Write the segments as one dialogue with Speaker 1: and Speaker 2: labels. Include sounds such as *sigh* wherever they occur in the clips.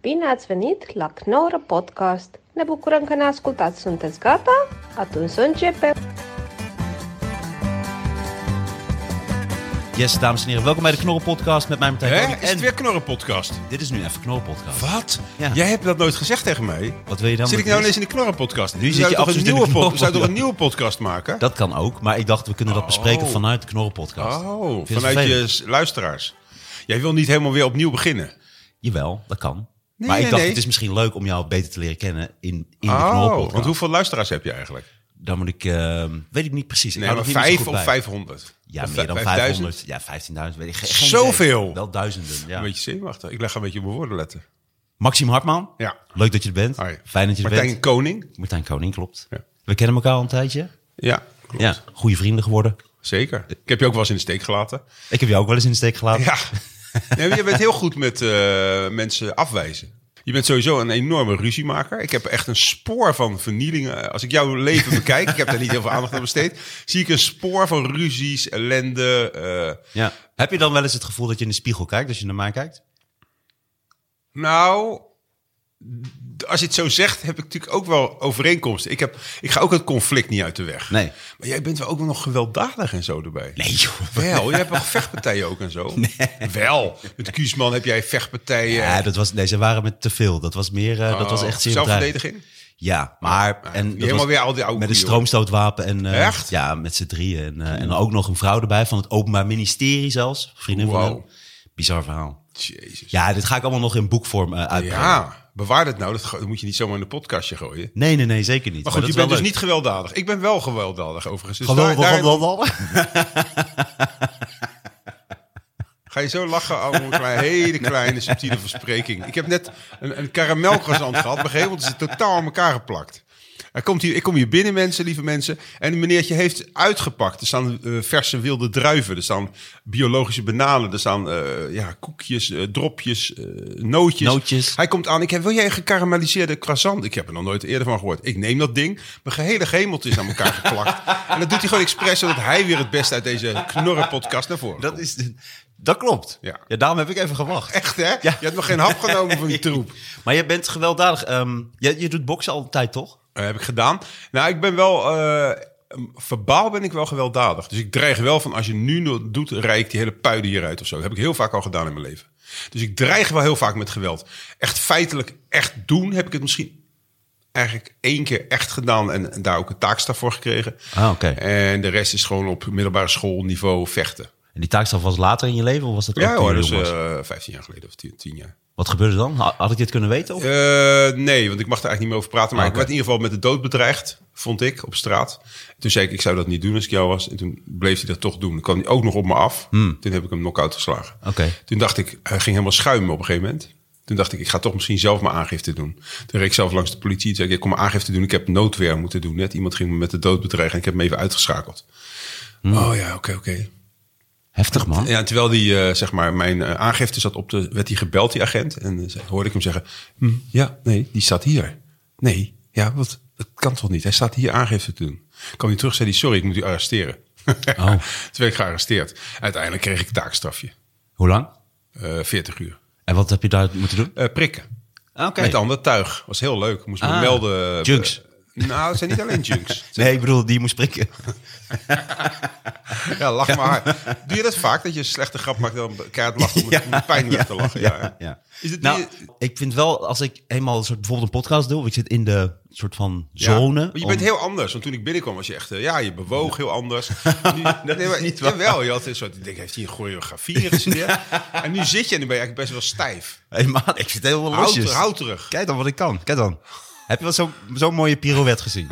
Speaker 1: Bine ați venit la Knorr Podcast! Ne bucurăm că ne ascultați! Sunteți gata? Atunci să începem!
Speaker 2: Yes, dames en heren. Welkom bij de Knorrenpodcast met mij, Martijn
Speaker 3: Hè?
Speaker 2: Koning.
Speaker 3: Is het weer knorrenpodcast?
Speaker 2: Dit is nu even Knorrenpodcast.
Speaker 3: Wat?
Speaker 2: Ja.
Speaker 3: Jij hebt dat nooit gezegd tegen mij.
Speaker 2: Wat wil je dan?
Speaker 3: Zit ik
Speaker 2: met
Speaker 3: nou
Speaker 2: dit?
Speaker 3: ineens in de knorrenpodcast?
Speaker 2: Nu zit
Speaker 3: Zou
Speaker 2: je
Speaker 3: toch een
Speaker 2: absoluut in de
Speaker 3: nieuwe pod- Zou
Speaker 2: knorrenpodcast.
Speaker 3: je toch een nieuwe podcast maken?
Speaker 2: Dat kan ook, maar ik dacht we kunnen dat bespreken
Speaker 3: Oh.
Speaker 2: vanuit de Knorrenpodcast.
Speaker 3: oh,
Speaker 2: Vind je het
Speaker 3: vanuit je
Speaker 2: vervelend?
Speaker 3: s- luisteraars. Jij wil niet helemaal weer opnieuw beginnen.
Speaker 2: Jawel, dat kan.
Speaker 3: Nee,
Speaker 2: maar ik
Speaker 3: nee,
Speaker 2: dacht,
Speaker 3: nee.
Speaker 2: het is misschien leuk om jou beter te leren kennen in, in de
Speaker 3: Oh,
Speaker 2: Knorrenpodcast.
Speaker 3: want hoeveel luisteraars heb je eigenlijk?
Speaker 2: Dan moet ik, ehm, weet ik niet precies. Ik
Speaker 3: Nee,
Speaker 2: hou
Speaker 3: maar
Speaker 2: dat niet meer zo
Speaker 3: vijf
Speaker 2: goed
Speaker 3: of
Speaker 2: bij.
Speaker 3: 500?
Speaker 2: Ja,
Speaker 3: Of
Speaker 2: meer dan
Speaker 3: 5000?
Speaker 2: 500. Ja, 15.000, weet ik geen idee.
Speaker 3: Zoveel!
Speaker 2: Wel duizenden, ja.
Speaker 3: Een beetje zenuwachtig. Ik leg een beetje op mijn woorden letten.
Speaker 2: Maxime Hartman,
Speaker 3: Ja.
Speaker 2: leuk dat je er bent.
Speaker 3: Hoi.
Speaker 2: Fijn dat je er
Speaker 3: Martijn
Speaker 2: bent.
Speaker 3: Koning?
Speaker 2: Martijn Koning, klopt.
Speaker 3: Ja.
Speaker 2: We kennen elkaar al een tijdje.
Speaker 3: Ja, klopt.
Speaker 2: Ja, goede vrienden geworden.
Speaker 3: zeker. Ik heb je ook wel eens in de steek gelaten.
Speaker 2: Ik heb jou ook wel eens in de steek gelaten.
Speaker 3: Ja. *laughs* Nee, maar je bent heel goed met eh, mensen afwijzen. Je bent sowieso een enorme ruziemaker. Ik heb echt een spoor van vernielingen. Als ik jouw leven bekijk, ik heb daar niet heel veel aandacht aan besteed, *laughs* zie ik een spoor van ruzies, ellende. eh.
Speaker 2: Ja. Heb je dan wel eens het gevoel dat je in de spiegel kijkt als je naar mij kijkt?
Speaker 3: nou, d- als je het zo zegt, heb ik natuurlijk ook wel overeenkomsten. Ik, heb, ik ga ook het conflict niet uit de weg.
Speaker 2: Nee.
Speaker 3: Maar jij bent wel ook wel nog gewelddadig en zo erbij.
Speaker 2: Nee, joh. *laughs*
Speaker 3: Wel, je hebt wel vechtpartijen ook en zo. Wel, met Kiesman heb jij vechtpartijen.
Speaker 2: Ja, dat was, nee, ze waren met te veel. Dat was meer, eh, dat was
Speaker 3: Oh,
Speaker 2: echt zeer
Speaker 3: Zelfverdediging?
Speaker 2: bedreigend. Ja, maar... En dat
Speaker 3: helemaal
Speaker 2: was
Speaker 3: weer al die oude
Speaker 2: Met een
Speaker 3: koeien,
Speaker 2: stroomstootwapen en... eh,
Speaker 3: Echt?
Speaker 2: Ja, met z'n drieën. En, eh, en dan ook nog een vrouw erbij van het Openbaar Ministerie zelfs. Vriendin van
Speaker 3: Wow.
Speaker 2: hem. Bizar verhaal.
Speaker 3: Jezus.
Speaker 2: Ja, dit ga ik allemaal nog in boekvorm eh uitbrengen.
Speaker 3: Ja, bewaar dat nou. Dat ge- dat moet je niet zomaar in een podcastje gooien.
Speaker 2: Nee, nee, nee, zeker niet.
Speaker 3: Maar goed,
Speaker 2: dat
Speaker 3: je
Speaker 2: is
Speaker 3: bent
Speaker 2: wel
Speaker 3: dus
Speaker 2: leuk.
Speaker 3: niet gewelddadig. Ik ben wel gewelddadig overigens. Dus
Speaker 2: Gewoon,
Speaker 3: daar, daar-
Speaker 2: gewoon, gewoon, gewoon.
Speaker 3: ga je zo lachen over een klein- hele kleine subtiele verspreking. Ik heb net een, een karamelcroissant gehad. Op een gegeven moment is het totaal aan elkaar geplakt. Er komt hier, ik kom hier binnen, mensen, lieve mensen. En een meneertje heeft uitgepakt. Er staan eh, verse wilde druiven. Er staan biologische bananen. Er staan eh, ja, koekjes, eh, dropjes, eh, nootjes.
Speaker 2: Nootjes.
Speaker 3: Hij komt aan. Ik heb, wil jij een gekarameliseerde croissant? Ik heb er nog nooit eerder van gehoord. Ik neem dat ding. Mijn gehele gemeltje is aan elkaar
Speaker 2: *laughs*
Speaker 3: geplakt. en dat doet hij gewoon expres, zodat hij weer het beste uit deze knorrenpodcast naar
Speaker 2: *laughs*
Speaker 3: voren
Speaker 2: Dat, is, dat klopt.
Speaker 3: Ja.
Speaker 2: ja, daarom heb ik even gewacht.
Speaker 3: Echt, hè? Je hebt nog geen hap genomen *laughs* van die troep.
Speaker 2: Maar je bent gewelddadig. Ehm, je, je doet boksen altijd, toch?
Speaker 3: Eh, heb ik gedaan. Nou, ik ben wel... eh, verbaal ben ik wel gewelddadig. Dus ik dreig wel van als je nu nog doet, rijd ik die hele puiden hieruit of zo. Dat heb ik heel vaak al gedaan in mijn leven. Dus ik dreig wel heel vaak met geweld. Echt feitelijk, echt doen heb ik het misschien eigenlijk één keer echt gedaan en, en daar ook een taakstaf voor gekregen.
Speaker 2: Ah, oké.
Speaker 3: En de rest is gewoon op middelbare schoolniveau vechten.
Speaker 2: En die taakstaf was later in je leven? Of was dat ook
Speaker 3: Ja
Speaker 2: toen
Speaker 3: hoor,
Speaker 2: je
Speaker 3: dus
Speaker 2: jong was?
Speaker 3: eh 15 jaar geleden of 10 10 jaar.
Speaker 2: Wat gebeurde dan? Ha- Had ik dit kunnen weten? Of?
Speaker 3: Eh, nee, want ik mag daar eigenlijk niet meer over praten. Maar
Speaker 2: Ah,
Speaker 3: ik werd in ieder geval met de dood bedreigd, vond ik, op straat. Toen zei ik, ik zou dat niet doen als ik jou was. En toen bleef hij dat toch doen. Dan kwam hij ook nog op me af. Toen heb ik hem knock-out geslagen.
Speaker 2: Hmm. Oké.
Speaker 3: Toen dacht ik, hij ging helemaal schuimen op een gegeven moment. Toen dacht ik, ik ga toch misschien zelf mijn aangifte doen. Toen reed ik zelf langs de politie. Toen zei ik, ik kom mijn aangifte doen. Ik heb noodweer moeten doen. Net iemand ging me met de dood bedreigen. En ik heb hem even uitgeschakeld.
Speaker 2: Hmm.
Speaker 3: Oh ja, oké, oké.
Speaker 2: Heftig, man.
Speaker 3: Ja, terwijl die, eh, zeg maar, mijn eh, aangifte zat op de... werd hij gebeld, die agent. En eh, ze- hoorde ik hem zeggen... "Hm, ja, nee, die staat hier. Nee, ja, wat, dat kan toch niet? Hij staat hier aangifte te doen. Kwam hij terug, zei hij... sorry, ik moet u arresteren.
Speaker 2: Oh.
Speaker 3: *laughs* Toen werd ik gearresteerd. Uiteindelijk kreeg ik taakstrafje.
Speaker 2: Hoe lang?
Speaker 3: eh 40 uur.
Speaker 2: En wat heb je daar moeten doen?
Speaker 3: Eh, prikken.
Speaker 2: Oké.
Speaker 3: Met ander tuig. Was heel leuk. Moest me
Speaker 2: Ah,
Speaker 3: melden. eh,
Speaker 2: junks.
Speaker 3: eh, nou, het zijn niet alleen
Speaker 2: *laughs*
Speaker 3: junks.
Speaker 2: Nee, ik bedoel, die moest
Speaker 3: *laughs*
Speaker 2: prikken.
Speaker 3: Ja, lach maar. Doe je dat vaak? Dat je een slechte grap maakt dan keihard lachen
Speaker 2: *laughs*
Speaker 3: om, het- om de pijn weg te lachen? Ja, hè? Is het
Speaker 2: nou,
Speaker 3: die-
Speaker 2: ik vind wel, als ik eenmaal een soort, bijvoorbeeld een podcast doe, of ik zit in de soort van zone.
Speaker 3: Ja, maar je
Speaker 2: om-
Speaker 3: bent heel anders. Want toen ik binnenkwam was je echt... eh, Ja, je bewoog heel
Speaker 2: *laughs*
Speaker 3: anders. Nu, dat
Speaker 2: is niet waar.
Speaker 3: Jawel, je had een soort... Ik denk, heeft hij een choreografie
Speaker 2: *laughs*
Speaker 3: gestudeerd? en nu zit je en dan ben je eigenlijk best wel stijf.
Speaker 2: Hey, maat, *laughs* ik zit helemaal
Speaker 3: Houd,
Speaker 2: losjes.
Speaker 3: houd terug.
Speaker 2: Kijk dan wat ik kan. Kijk dan. Heb je wel zo'n zo'n mooie pirouette
Speaker 3: *laughs*
Speaker 2: gezien?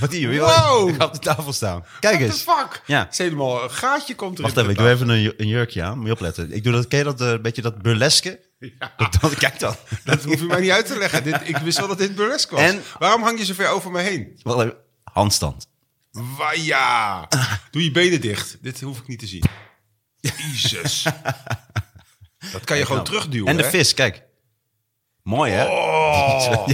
Speaker 2: wat hier? joh. *laughs*
Speaker 3: Wow.
Speaker 2: Ik ga op de tafel staan. Kijk
Speaker 3: What
Speaker 2: eens.
Speaker 3: the fuck?
Speaker 2: Ja.
Speaker 3: Het is helemaal een gaatje komt erin.
Speaker 2: Wacht even, ik doe even een, ju- een jurkje aan. Moet je opletten. Ik doe dat, ken je dat, eh, een beetje dat
Speaker 3: *laughs*
Speaker 2: burleske? Dat, dat- kijk dan.
Speaker 3: Dat hoef je mij niet uit te leggen. Dit, ik wist wel dat dit burlesque was.
Speaker 2: En-
Speaker 3: Waarom hang je zo ver over me heen?
Speaker 2: Wacht even. Handstand. *laughs*
Speaker 3: Waja. Doe je benen dicht. Dit hoef ik niet te zien.
Speaker 2: *laughs*
Speaker 3: Jezus. Dat kan je gewoon
Speaker 2: Nou.
Speaker 3: terugduwen.
Speaker 2: En de
Speaker 3: hè?
Speaker 2: vis, kijk. Mooi, hè? *laughs*
Speaker 3: Oh.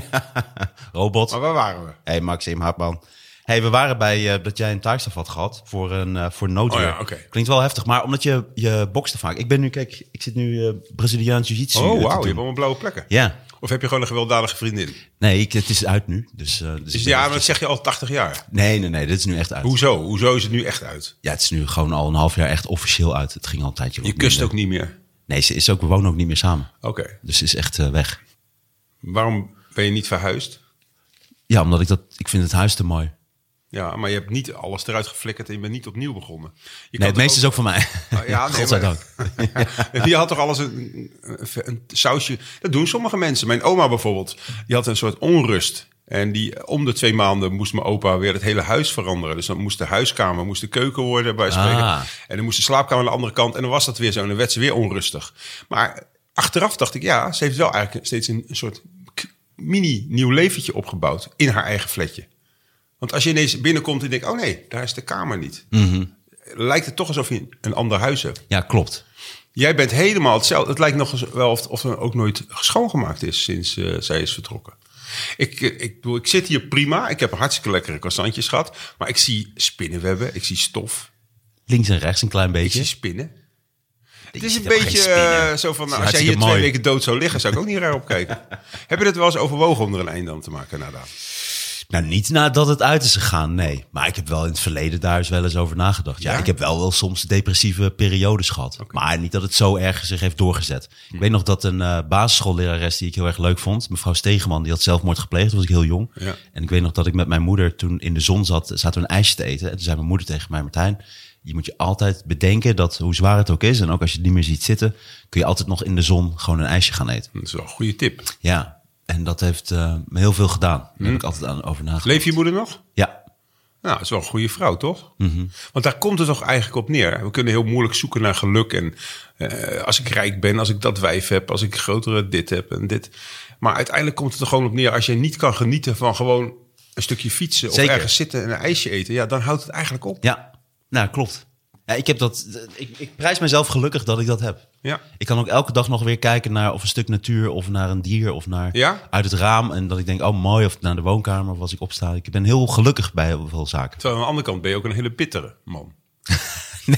Speaker 2: Robot.
Speaker 3: Maar waar waren we?
Speaker 2: hey, Maxim Hartman. hey, we waren bij eh, dat jij een taakstraf had gehad voor een eh voor noodweer.
Speaker 3: Oh ja, oké.
Speaker 2: Klinkt wel heftig, maar omdat je, je bokste vaak. Ik ben nu, kijk, ik zit nu eh Braziliaans jiu-jitsu.
Speaker 3: Oh,
Speaker 2: eh, te
Speaker 3: wauw. Je
Speaker 2: doen.
Speaker 3: hebt allemaal blauwe plekken.
Speaker 2: Ja.
Speaker 3: Of heb je gewoon een gewelddadige vriendin?
Speaker 2: Nee, ik, het is uit nu. Dus, eh, dus
Speaker 3: Dus
Speaker 2: ik
Speaker 3: ja,
Speaker 2: ben-
Speaker 3: maar dat zeg je al 80 jaar.
Speaker 2: Nee, nee, nee, dit is nu echt uit.
Speaker 3: Hoezo? Hoezo is het nu echt uit?
Speaker 2: Ja, het is nu gewoon al een half jaar echt officieel uit. Het ging al een tijdje
Speaker 3: Je
Speaker 2: wat
Speaker 3: kust ook
Speaker 2: minder.
Speaker 3: niet meer.
Speaker 2: Nee, ze is ook, we wonen ook niet meer samen.
Speaker 3: Oké.
Speaker 2: Dus ze is echt eh, weg.
Speaker 3: Waarom ben je niet verhuisd?
Speaker 2: Ja, omdat ik dat, ik vind het huis te mooi.
Speaker 3: Ja, maar je hebt niet alles eruit geflikkerd en je bent niet opnieuw begonnen. Je kan
Speaker 2: nee, het
Speaker 3: toch
Speaker 2: meeste is ook van mij. *laughs*
Speaker 3: Ah, ja, nee,
Speaker 2: Godzijdank.
Speaker 3: *laughs* Die had toch alles een, een- een sausje. Dat doen sommige mensen. Mijn oma bijvoorbeeld, die had een soort onrust. En die, om de twee maanden moest mijn opa weer het hele huis veranderen. Dus dan moest de huiskamer, moest de keuken worden bij wijze van spreken.
Speaker 2: Ah.
Speaker 3: En dan moest de slaapkamer aan de andere kant. En dan was dat weer zo. En dan werd ze weer onrustig. Maar achteraf dacht ik, ja, ze heeft wel eigenlijk steeds een, een soort k- mini nieuw leventje opgebouwd. In haar eigen flatje. Want als je ineens binnenkomt en denkt, oh nee, daar is de kamer niet. Lijkt het toch alsof je een ander huis hebt.
Speaker 2: Ja, klopt.
Speaker 3: Jij bent helemaal hetzelfde. Het lijkt nog eens wel of, of er ook nooit schoongemaakt is sinds eh, zij is vertrokken. Ik, eh, ik, bedoel, ik zit hier prima. Ik heb hartstikke lekkere croissantjes gehad. Maar ik zie spinnenwebben. Ik zie stof.
Speaker 2: Links en rechts een klein
Speaker 3: Ik zie
Speaker 2: beetje.
Speaker 3: spinnen. Het is
Speaker 2: ziet
Speaker 3: een
Speaker 2: ook geen
Speaker 3: beetje
Speaker 2: spinnen.
Speaker 3: eh, zo van, nou,
Speaker 2: Het is
Speaker 3: als jij
Speaker 2: hartstikke
Speaker 3: hier twee
Speaker 2: mooi.
Speaker 3: weken dood zou liggen, zou ik ook niet raar
Speaker 2: *laughs*
Speaker 3: opkijken. Heb je dat wel eens overwogen om er een einde aan te maken, Nada?
Speaker 2: Nou, niet nadat het uit is gegaan, nee. Maar ik heb wel in het verleden daar eens wel eens over nagedacht. Ja,
Speaker 3: Ja?
Speaker 2: ik heb wel wel soms depressieve periodes gehad. Maar niet dat het zo erg zich heeft doorgezet. Ik weet nog dat een eh basisschoollerares die ik heel erg leuk vond... mevrouw Stegeman, die had zelfmoord gepleegd, toen was ik heel jong.
Speaker 3: Ja.
Speaker 2: En ik weet nog dat ik met mijn moeder toen in de zon zat... zaten we een ijsje te eten. En toen zei mijn moeder tegen mij, Martijn... je moet je altijd bedenken dat hoe zwaar het ook is... en ook als je het niet meer ziet zitten... kun je altijd nog in de zon gewoon een ijsje gaan eten.
Speaker 3: Dat is wel een goede tip.
Speaker 2: Ja, en dat heeft eh, me heel veel gedaan. Daar heb ik altijd aan over nagedacht.
Speaker 3: Mhm. Leef je moeder nog?
Speaker 2: Ja,
Speaker 3: Nou, dat is wel een goede vrouw, toch?
Speaker 2: Mhm.
Speaker 3: Want daar komt het toch eigenlijk op neer. We kunnen heel moeilijk zoeken naar geluk. En eh, als ik rijk ben, als ik dat wijf heb, als ik grotere dit heb en dit. Maar uiteindelijk komt het er gewoon op neer. Als je niet kan genieten van gewoon een stukje fietsen
Speaker 2: Zeker.
Speaker 3: of ergens zitten en een ijsje eten. Ja, dan houdt het eigenlijk op.
Speaker 2: ja. Nou, klopt. Ja, ik, heb dat, ik, ik prijs mezelf gelukkig dat ik dat heb.
Speaker 3: Ja.
Speaker 2: Ik kan ook elke dag nog weer kijken naar of een stuk natuur of naar een dier of naar
Speaker 3: Ja?
Speaker 2: uit het raam. En dat ik denk, oh mooi, of naar de woonkamer of als ik opsta. Ik ben heel gelukkig bij heel veel zaken. *laughs*
Speaker 3: Terwijl aan de andere kant ben je ook een hele bittere man.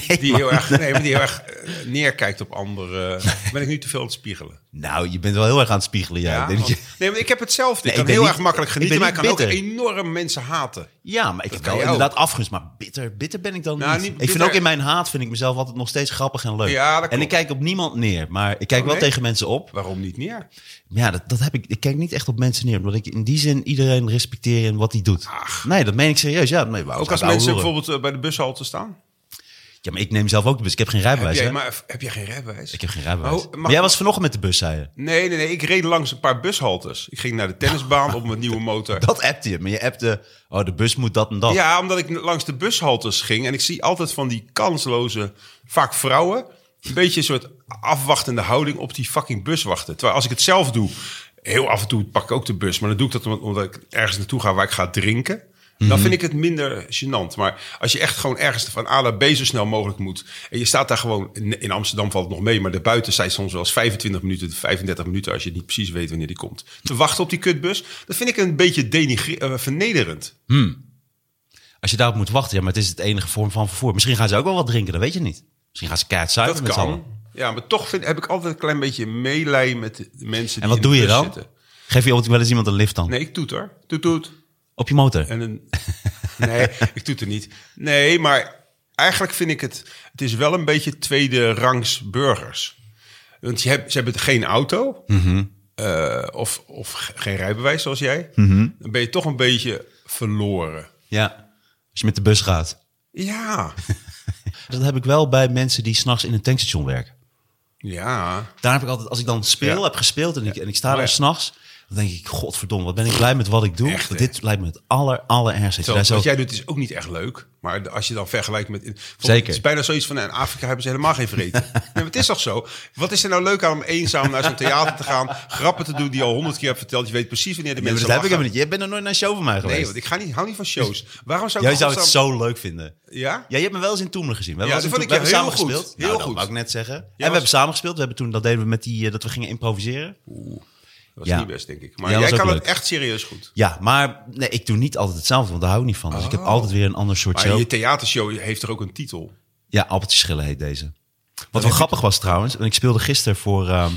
Speaker 2: Nee,
Speaker 3: Die
Speaker 2: man. *laughs*
Speaker 3: heel erg, nee, maar die heel erg eh, neerkijkt op anderen. Ben ik nu te veel aan het spiegelen?
Speaker 2: Nou, je bent wel heel erg aan het spiegelen. Ja, Ik denk dat
Speaker 3: want-
Speaker 2: je-
Speaker 3: nee, maar ik heb hetzelfde.
Speaker 2: Nee,
Speaker 3: ik
Speaker 2: ik
Speaker 3: kan
Speaker 2: ben
Speaker 3: heel
Speaker 2: niet-
Speaker 3: erg makkelijk
Speaker 2: ik ben
Speaker 3: genieten, maar ik
Speaker 2: niet
Speaker 3: kan ook
Speaker 2: bitter.
Speaker 3: enorm mensen haten.
Speaker 2: ja maar ik heb
Speaker 3: ben
Speaker 2: wel
Speaker 3: je ook.
Speaker 2: inderdaad afgunst. Maar bitter, bitter ben ik dan
Speaker 3: Nou,
Speaker 2: niet.
Speaker 3: niet
Speaker 2: Ik vind
Speaker 3: bitter.
Speaker 2: ook in mijn haat vind ik mezelf altijd nog steeds grappig en leuk.
Speaker 3: Ja, dat
Speaker 2: en
Speaker 3: klopt.
Speaker 2: ik kijk op niemand neer. Maar ik kijk
Speaker 3: Oh,
Speaker 2: wel
Speaker 3: nee?
Speaker 2: tegen mensen op.
Speaker 3: Waarom niet neer?
Speaker 2: Ja, dat, dat heb ik. Ik kijk niet echt op mensen neer. Omdat ik in die zin iedereen respecteer in wat hij doet.
Speaker 3: Ach.
Speaker 2: Nee, dat meen ik serieus. Ja, nee, maar
Speaker 3: Ook als mensen bijvoorbeeld eh, bij de bushalte staan.
Speaker 2: Ja, maar ik neem zelf ook de bus. Ik heb geen rijbewijs.
Speaker 3: Heb jij,
Speaker 2: hè?
Speaker 3: maar heb jij geen rijbewijs?
Speaker 2: Ik heb geen rijbewijs.
Speaker 3: Oh, mag-
Speaker 2: maar jij was vanochtend met de bus, zei je.
Speaker 3: Nee, nee, nee. Ik reed langs een paar bushaltes. Ik ging naar de tennisbaan op mijn nieuwe motor.
Speaker 2: Dat appte je. Maar je appte, oh, de bus moet dat en dat.
Speaker 3: Ja, omdat ik langs de bushaltes ging. En ik zie altijd van die kansloze, vaak vrouwen... een beetje een soort afwachtende houding op die fucking bus wachten. Terwijl als ik het zelf doe, heel af en toe pak ik ook de bus. Maar dan doe ik dat omdat- omdat ik ergens naartoe ga waar ik ga drinken. Dan vind ik het minder gênant. Maar als je echt gewoon ergens van A naar B zo snel mogelijk moet. En je staat daar gewoon. In in Amsterdam valt het nog mee. Maar daarbuiten zijn soms wel eens 25 minuten, 35 minuten. Als je niet precies weet wanneer die komt. Te wachten op die kutbus. Dat vind ik een beetje denigre- eh, vernederend.
Speaker 2: Als je daarop moet wachten, ja, maar het is het enige vorm van vervoer. Misschien gaan ze ook wel wat drinken, dat weet je niet. Misschien gaan ze keihard zuipen
Speaker 3: Dat
Speaker 2: met z'n
Speaker 3: kan.
Speaker 2: allen.
Speaker 3: Ja, maar toch vind, heb ik altijd een klein beetje meelij met de mensen die
Speaker 2: En wat
Speaker 3: in de
Speaker 2: doe je
Speaker 3: bus
Speaker 2: dan?
Speaker 3: zitten.
Speaker 2: Geef je ook wel eens iemand een lift dan?
Speaker 3: Nee, ik toeter. Toet, toet.
Speaker 2: Op je motor?
Speaker 3: En een... *laughs* Nee, ik doe het niet. Nee, maar eigenlijk vind ik het... Het is wel een beetje tweede rangs burgers. Want je hebt, ze hebben geen auto.
Speaker 2: Mhm.
Speaker 3: eh, of, of ge- geen rijbewijs zoals jij.
Speaker 2: Mhm.
Speaker 3: Dan ben je toch een beetje verloren.
Speaker 2: Ja. Als je met de bus gaat.
Speaker 3: Ja. *laughs*
Speaker 2: Dat heb ik wel bij mensen die s'nachts in een tankstation werken.
Speaker 3: Ja.
Speaker 2: Daar heb ik altijd, als ik dan speel,
Speaker 3: Ja.
Speaker 2: heb gespeeld en ik, en ik sta
Speaker 3: Oh,
Speaker 2: daar
Speaker 3: ja.
Speaker 2: s'nachts, dan denk ik, godverdomme, wat ben ik blij met wat ik doe.
Speaker 3: Echt,
Speaker 2: Want
Speaker 3: hè?
Speaker 2: dit lijkt me het aller, allerergste. Ik
Speaker 3: Terwijl
Speaker 2: sta
Speaker 3: wat
Speaker 2: zo-
Speaker 3: jij doet is ook niet echt leuk. Maar de- als je dan vergelijkt met... in-
Speaker 2: Zeker.
Speaker 3: Het is bijna zoiets van, nou, in Afrika hebben ze helemaal geen
Speaker 2: *laughs*
Speaker 3: vreten. nee, maar het is toch zo? Wat is er nou leuk aan om eenzaam naar zo'n theater te gaan? Grappen te doen die je al honderd keer hebt verteld. Je weet precies wanneer de
Speaker 2: Nee, maar dat
Speaker 3: mensen
Speaker 2: heb ik
Speaker 3: lachen.
Speaker 2: helemaal niet. Jij bent nog nooit naar een show van mij geweest.
Speaker 3: Nee, want ik ga niet, hou niet van shows. Waarom zou ik
Speaker 2: Jij zou het
Speaker 3: godsnaam-
Speaker 2: zo leuk vinden.
Speaker 3: Ja?
Speaker 2: Ja, je hebt me wel eens in Toemler gezien. We
Speaker 3: Ja,
Speaker 2: hebben wel eens in
Speaker 3: dat vond ik
Speaker 2: Toemler-
Speaker 3: heel
Speaker 2: we
Speaker 3: goed.
Speaker 2: hebben samen gespeeld.
Speaker 3: Heel
Speaker 2: nou, dat
Speaker 3: goed.
Speaker 2: wou ik net zeggen. en we
Speaker 3: was-
Speaker 2: hebben samen gespeeld. We hebben toen, dat deden we met die, eh, dat we gingen improviseren.
Speaker 3: Dat is
Speaker 2: Ja.
Speaker 3: niet best, denk ik. Maar
Speaker 2: Ja, dat
Speaker 3: jij
Speaker 2: is ook
Speaker 3: kan het
Speaker 2: leuk.
Speaker 3: echt serieus goed.
Speaker 2: Ja, maar nee, ik doe niet altijd hetzelfde, want daar hou ik niet van. Dus ik heb altijd weer een ander soort
Speaker 3: Oh. Maar
Speaker 2: show.
Speaker 3: je theatershow heeft er ook een titel.
Speaker 2: Ja, Albertje Schillen heet deze. Wat wel grappig was trouwens, want ik speelde gisteren voor, ehm,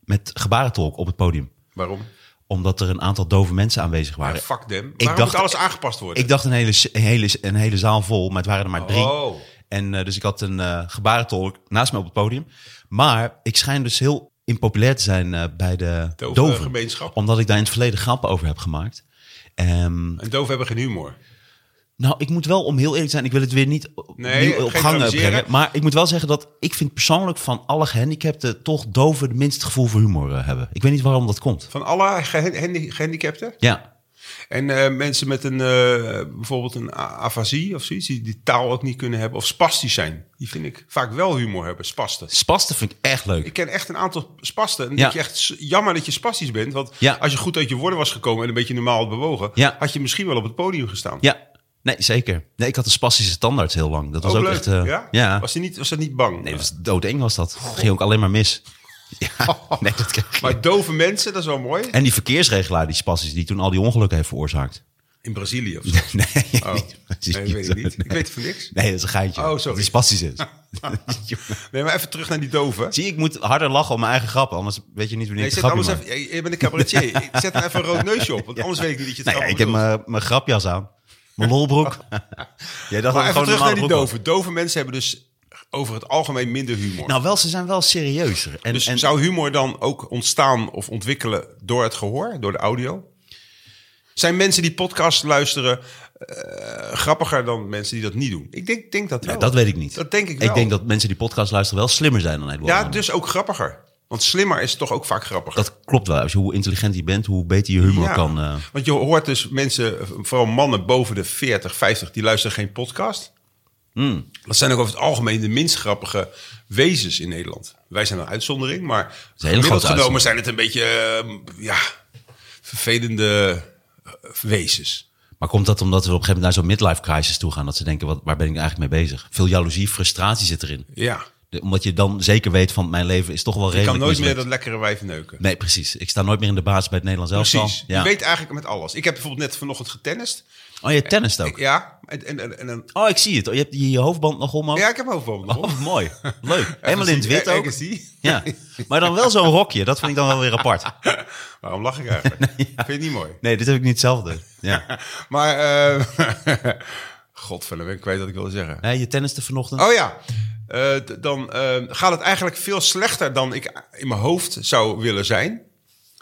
Speaker 2: met eh, gebarentolk op het podium.
Speaker 3: Waarom?
Speaker 2: Omdat er een aantal dove mensen aanwezig
Speaker 3: Ja,
Speaker 2: waren.
Speaker 3: fuck them. Waarom
Speaker 2: dacht-
Speaker 3: moet alles aangepast worden?
Speaker 2: ik dacht een hele, s- een, hele, een hele zaal vol, maar het waren er maar drie.
Speaker 3: Oh.
Speaker 2: En eh, dus ik had een eh gebarentolk naast me op het podium. Maar ik schijn dus heel impopulair te zijn eh, bij de
Speaker 3: Dove,
Speaker 2: doven.
Speaker 3: eh, gemeenschap.
Speaker 2: Omdat ik daar in het verleden grappen over heb gemaakt. Ehm,
Speaker 3: En doven hebben geen humor.
Speaker 2: nou, ik moet wel, om heel eerlijk te zijn, ik wil het weer niet op-
Speaker 3: Nee,
Speaker 2: opnieuw op
Speaker 3: geen
Speaker 2: gang eh,
Speaker 3: dramatiseren.
Speaker 2: brengen. Maar ik moet wel zeggen dat ik vind persoonlijk van alle gehandicapten toch doven het minste gevoel voor humor eh, hebben. Ik weet niet waarom dat komt.
Speaker 3: Van alle gehan- handi- gehandicapten?
Speaker 2: Ja,
Speaker 3: En eh, mensen met een, eh, bijvoorbeeld een a- afasie of zoiets, die, die taal ook niet kunnen hebben. Of spastisch zijn. Die vind ik vaak wel humor hebben, spasten.
Speaker 2: spasten vind ik echt leuk.
Speaker 3: Ik ken echt een aantal spasten. En dan
Speaker 2: Ja.
Speaker 3: denk je echt s- jammer dat je spastisch bent. Want
Speaker 2: Ja.
Speaker 3: als je goed uit je woorden was gekomen en een beetje normaal had bewogen,
Speaker 2: Ja.
Speaker 3: had je misschien wel op het podium gestaan.
Speaker 2: Ja, nee, zeker. Nee, ik had een spastische tandarts heel lang. Dat was ook,
Speaker 3: Oh, leuk,
Speaker 2: echt... eh,
Speaker 3: ja?
Speaker 2: ja.
Speaker 3: Was, Oh. die niet, was dat niet bang?
Speaker 2: Nee, dat was doodeng was dat. Ging ook alleen maar
Speaker 3: *laughs*
Speaker 2: mis. Ja, nee, dat kreeg ik.
Speaker 3: Maar dove mensen, dat is wel mooi.
Speaker 2: En die verkeersregelaar, die spassies, die toen al die ongelukken heeft veroorzaakt. *laughs*
Speaker 3: In Brazilië *laughs* of zo.
Speaker 2: Nee,
Speaker 3: Oh,
Speaker 2: niet, precies
Speaker 3: nee, weet ik niet. Ik
Speaker 2: Nee.
Speaker 3: weet het van niks.
Speaker 2: Nee, dat is een geintje.
Speaker 3: Oh, sorry.
Speaker 2: Dat Die spassies is.
Speaker 3: *laughs* Nee, maar even terug naar die doven.
Speaker 2: Zie, ik moet harder lachen om mijn eigen grap, anders weet je niet wanneer
Speaker 3: Nee,
Speaker 2: ik de
Speaker 3: zet
Speaker 2: grapje
Speaker 3: anders
Speaker 2: maak.
Speaker 3: even, jij- jij bent een
Speaker 2: *laughs*
Speaker 3: cabaretier. Ik zet dan even een rood neusje op, want anders weet ik niet dat je het
Speaker 2: Nee,
Speaker 3: allemaal
Speaker 2: Nou ik heb
Speaker 3: bedoelt.
Speaker 2: mijn mijn grapjas aan. Mijn lolbroek. *laughs* Jij dacht dat
Speaker 3: Maar
Speaker 2: ik
Speaker 3: even
Speaker 2: gewoon
Speaker 3: terug naar die
Speaker 2: normaal broek
Speaker 3: doven. Dove mensen hebben dus over het algemeen minder humor.
Speaker 2: had. Nou wel, ze zijn wel serieuzer. En,
Speaker 3: dus
Speaker 2: en,
Speaker 3: zou humor dan ook ontstaan of ontwikkelen door het gehoor, door de audio? Zijn mensen die podcast luisteren eh, grappiger dan mensen die dat niet doen? Ik denk, denk dat wel.
Speaker 2: Nou, dat weet ik niet.
Speaker 3: Dat denk ik wel.
Speaker 2: Ik denk dat mensen die podcast luisteren wel slimmer zijn dan Edward.
Speaker 3: ja,
Speaker 2: Norman.
Speaker 3: dus ook grappiger. Want slimmer is toch ook vaak grappiger.
Speaker 2: Dat klopt wel. Als je, hoe intelligent je bent, hoe beter je humor
Speaker 3: Ja,
Speaker 2: kan. eh,
Speaker 3: Want je hoort dus mensen, vooral mannen boven de 40, 50, die luisteren geen podcast.
Speaker 2: Hmm.
Speaker 3: Dat zijn ook over het algemeen de minst grappige wezens in Nederland. Wij zijn een uitzondering, maar
Speaker 2: een hele
Speaker 3: gemiddeld
Speaker 2: grote
Speaker 3: genomen zijn het een beetje eh, ja, vervelende eh, wezens.
Speaker 2: Maar komt dat omdat we op een gegeven moment naar zo'n midlife crisis toe gaan? Dat ze denken, wat, waar ben ik nou eigenlijk mee bezig? Veel jaloezie, frustratie zit erin.
Speaker 3: Ja,
Speaker 2: De- omdat je dan zeker weet van mijn leven is toch wel
Speaker 3: je
Speaker 2: redelijk
Speaker 3: kan nooit meer
Speaker 2: mislukt.
Speaker 3: dat lekkere wijf neuken.
Speaker 2: Nee, precies. Ik sta nooit meer in de baas bij het Nederlands elftal.
Speaker 3: Precies,
Speaker 2: Ja.
Speaker 3: je weet eigenlijk met alles. Ik heb bijvoorbeeld net vanochtend getennist.
Speaker 2: Oh, je tennist ook.
Speaker 3: Ja, en, en, en, en dan...
Speaker 2: Oh, ik zie het. Je hebt hier je hoofdband nog om. ook.
Speaker 3: Ja, ik heb overal nog.
Speaker 2: Oh, mooi.
Speaker 3: *laughs*
Speaker 2: Leuk. Helemaal in het wit ook.
Speaker 3: Ergens die.
Speaker 2: Ja. Maar dan wel zo'n rokje. Dat vind ik dan wel weer apart.
Speaker 3: Waarom lach ik eigenlijk? Vind je het niet mooi?
Speaker 2: *laughs* Nee, dit heb ik niet hetzelfde. Ja.
Speaker 3: *laughs* Maar, eh *laughs* godverdomme, ik weet wat ik wilde zeggen.
Speaker 2: Nee, je tenniste vanochtend.
Speaker 3: Oh ja, Eh, d- dan eh, gaat het eigenlijk veel slechter dan ik in mijn hoofd zou willen zijn.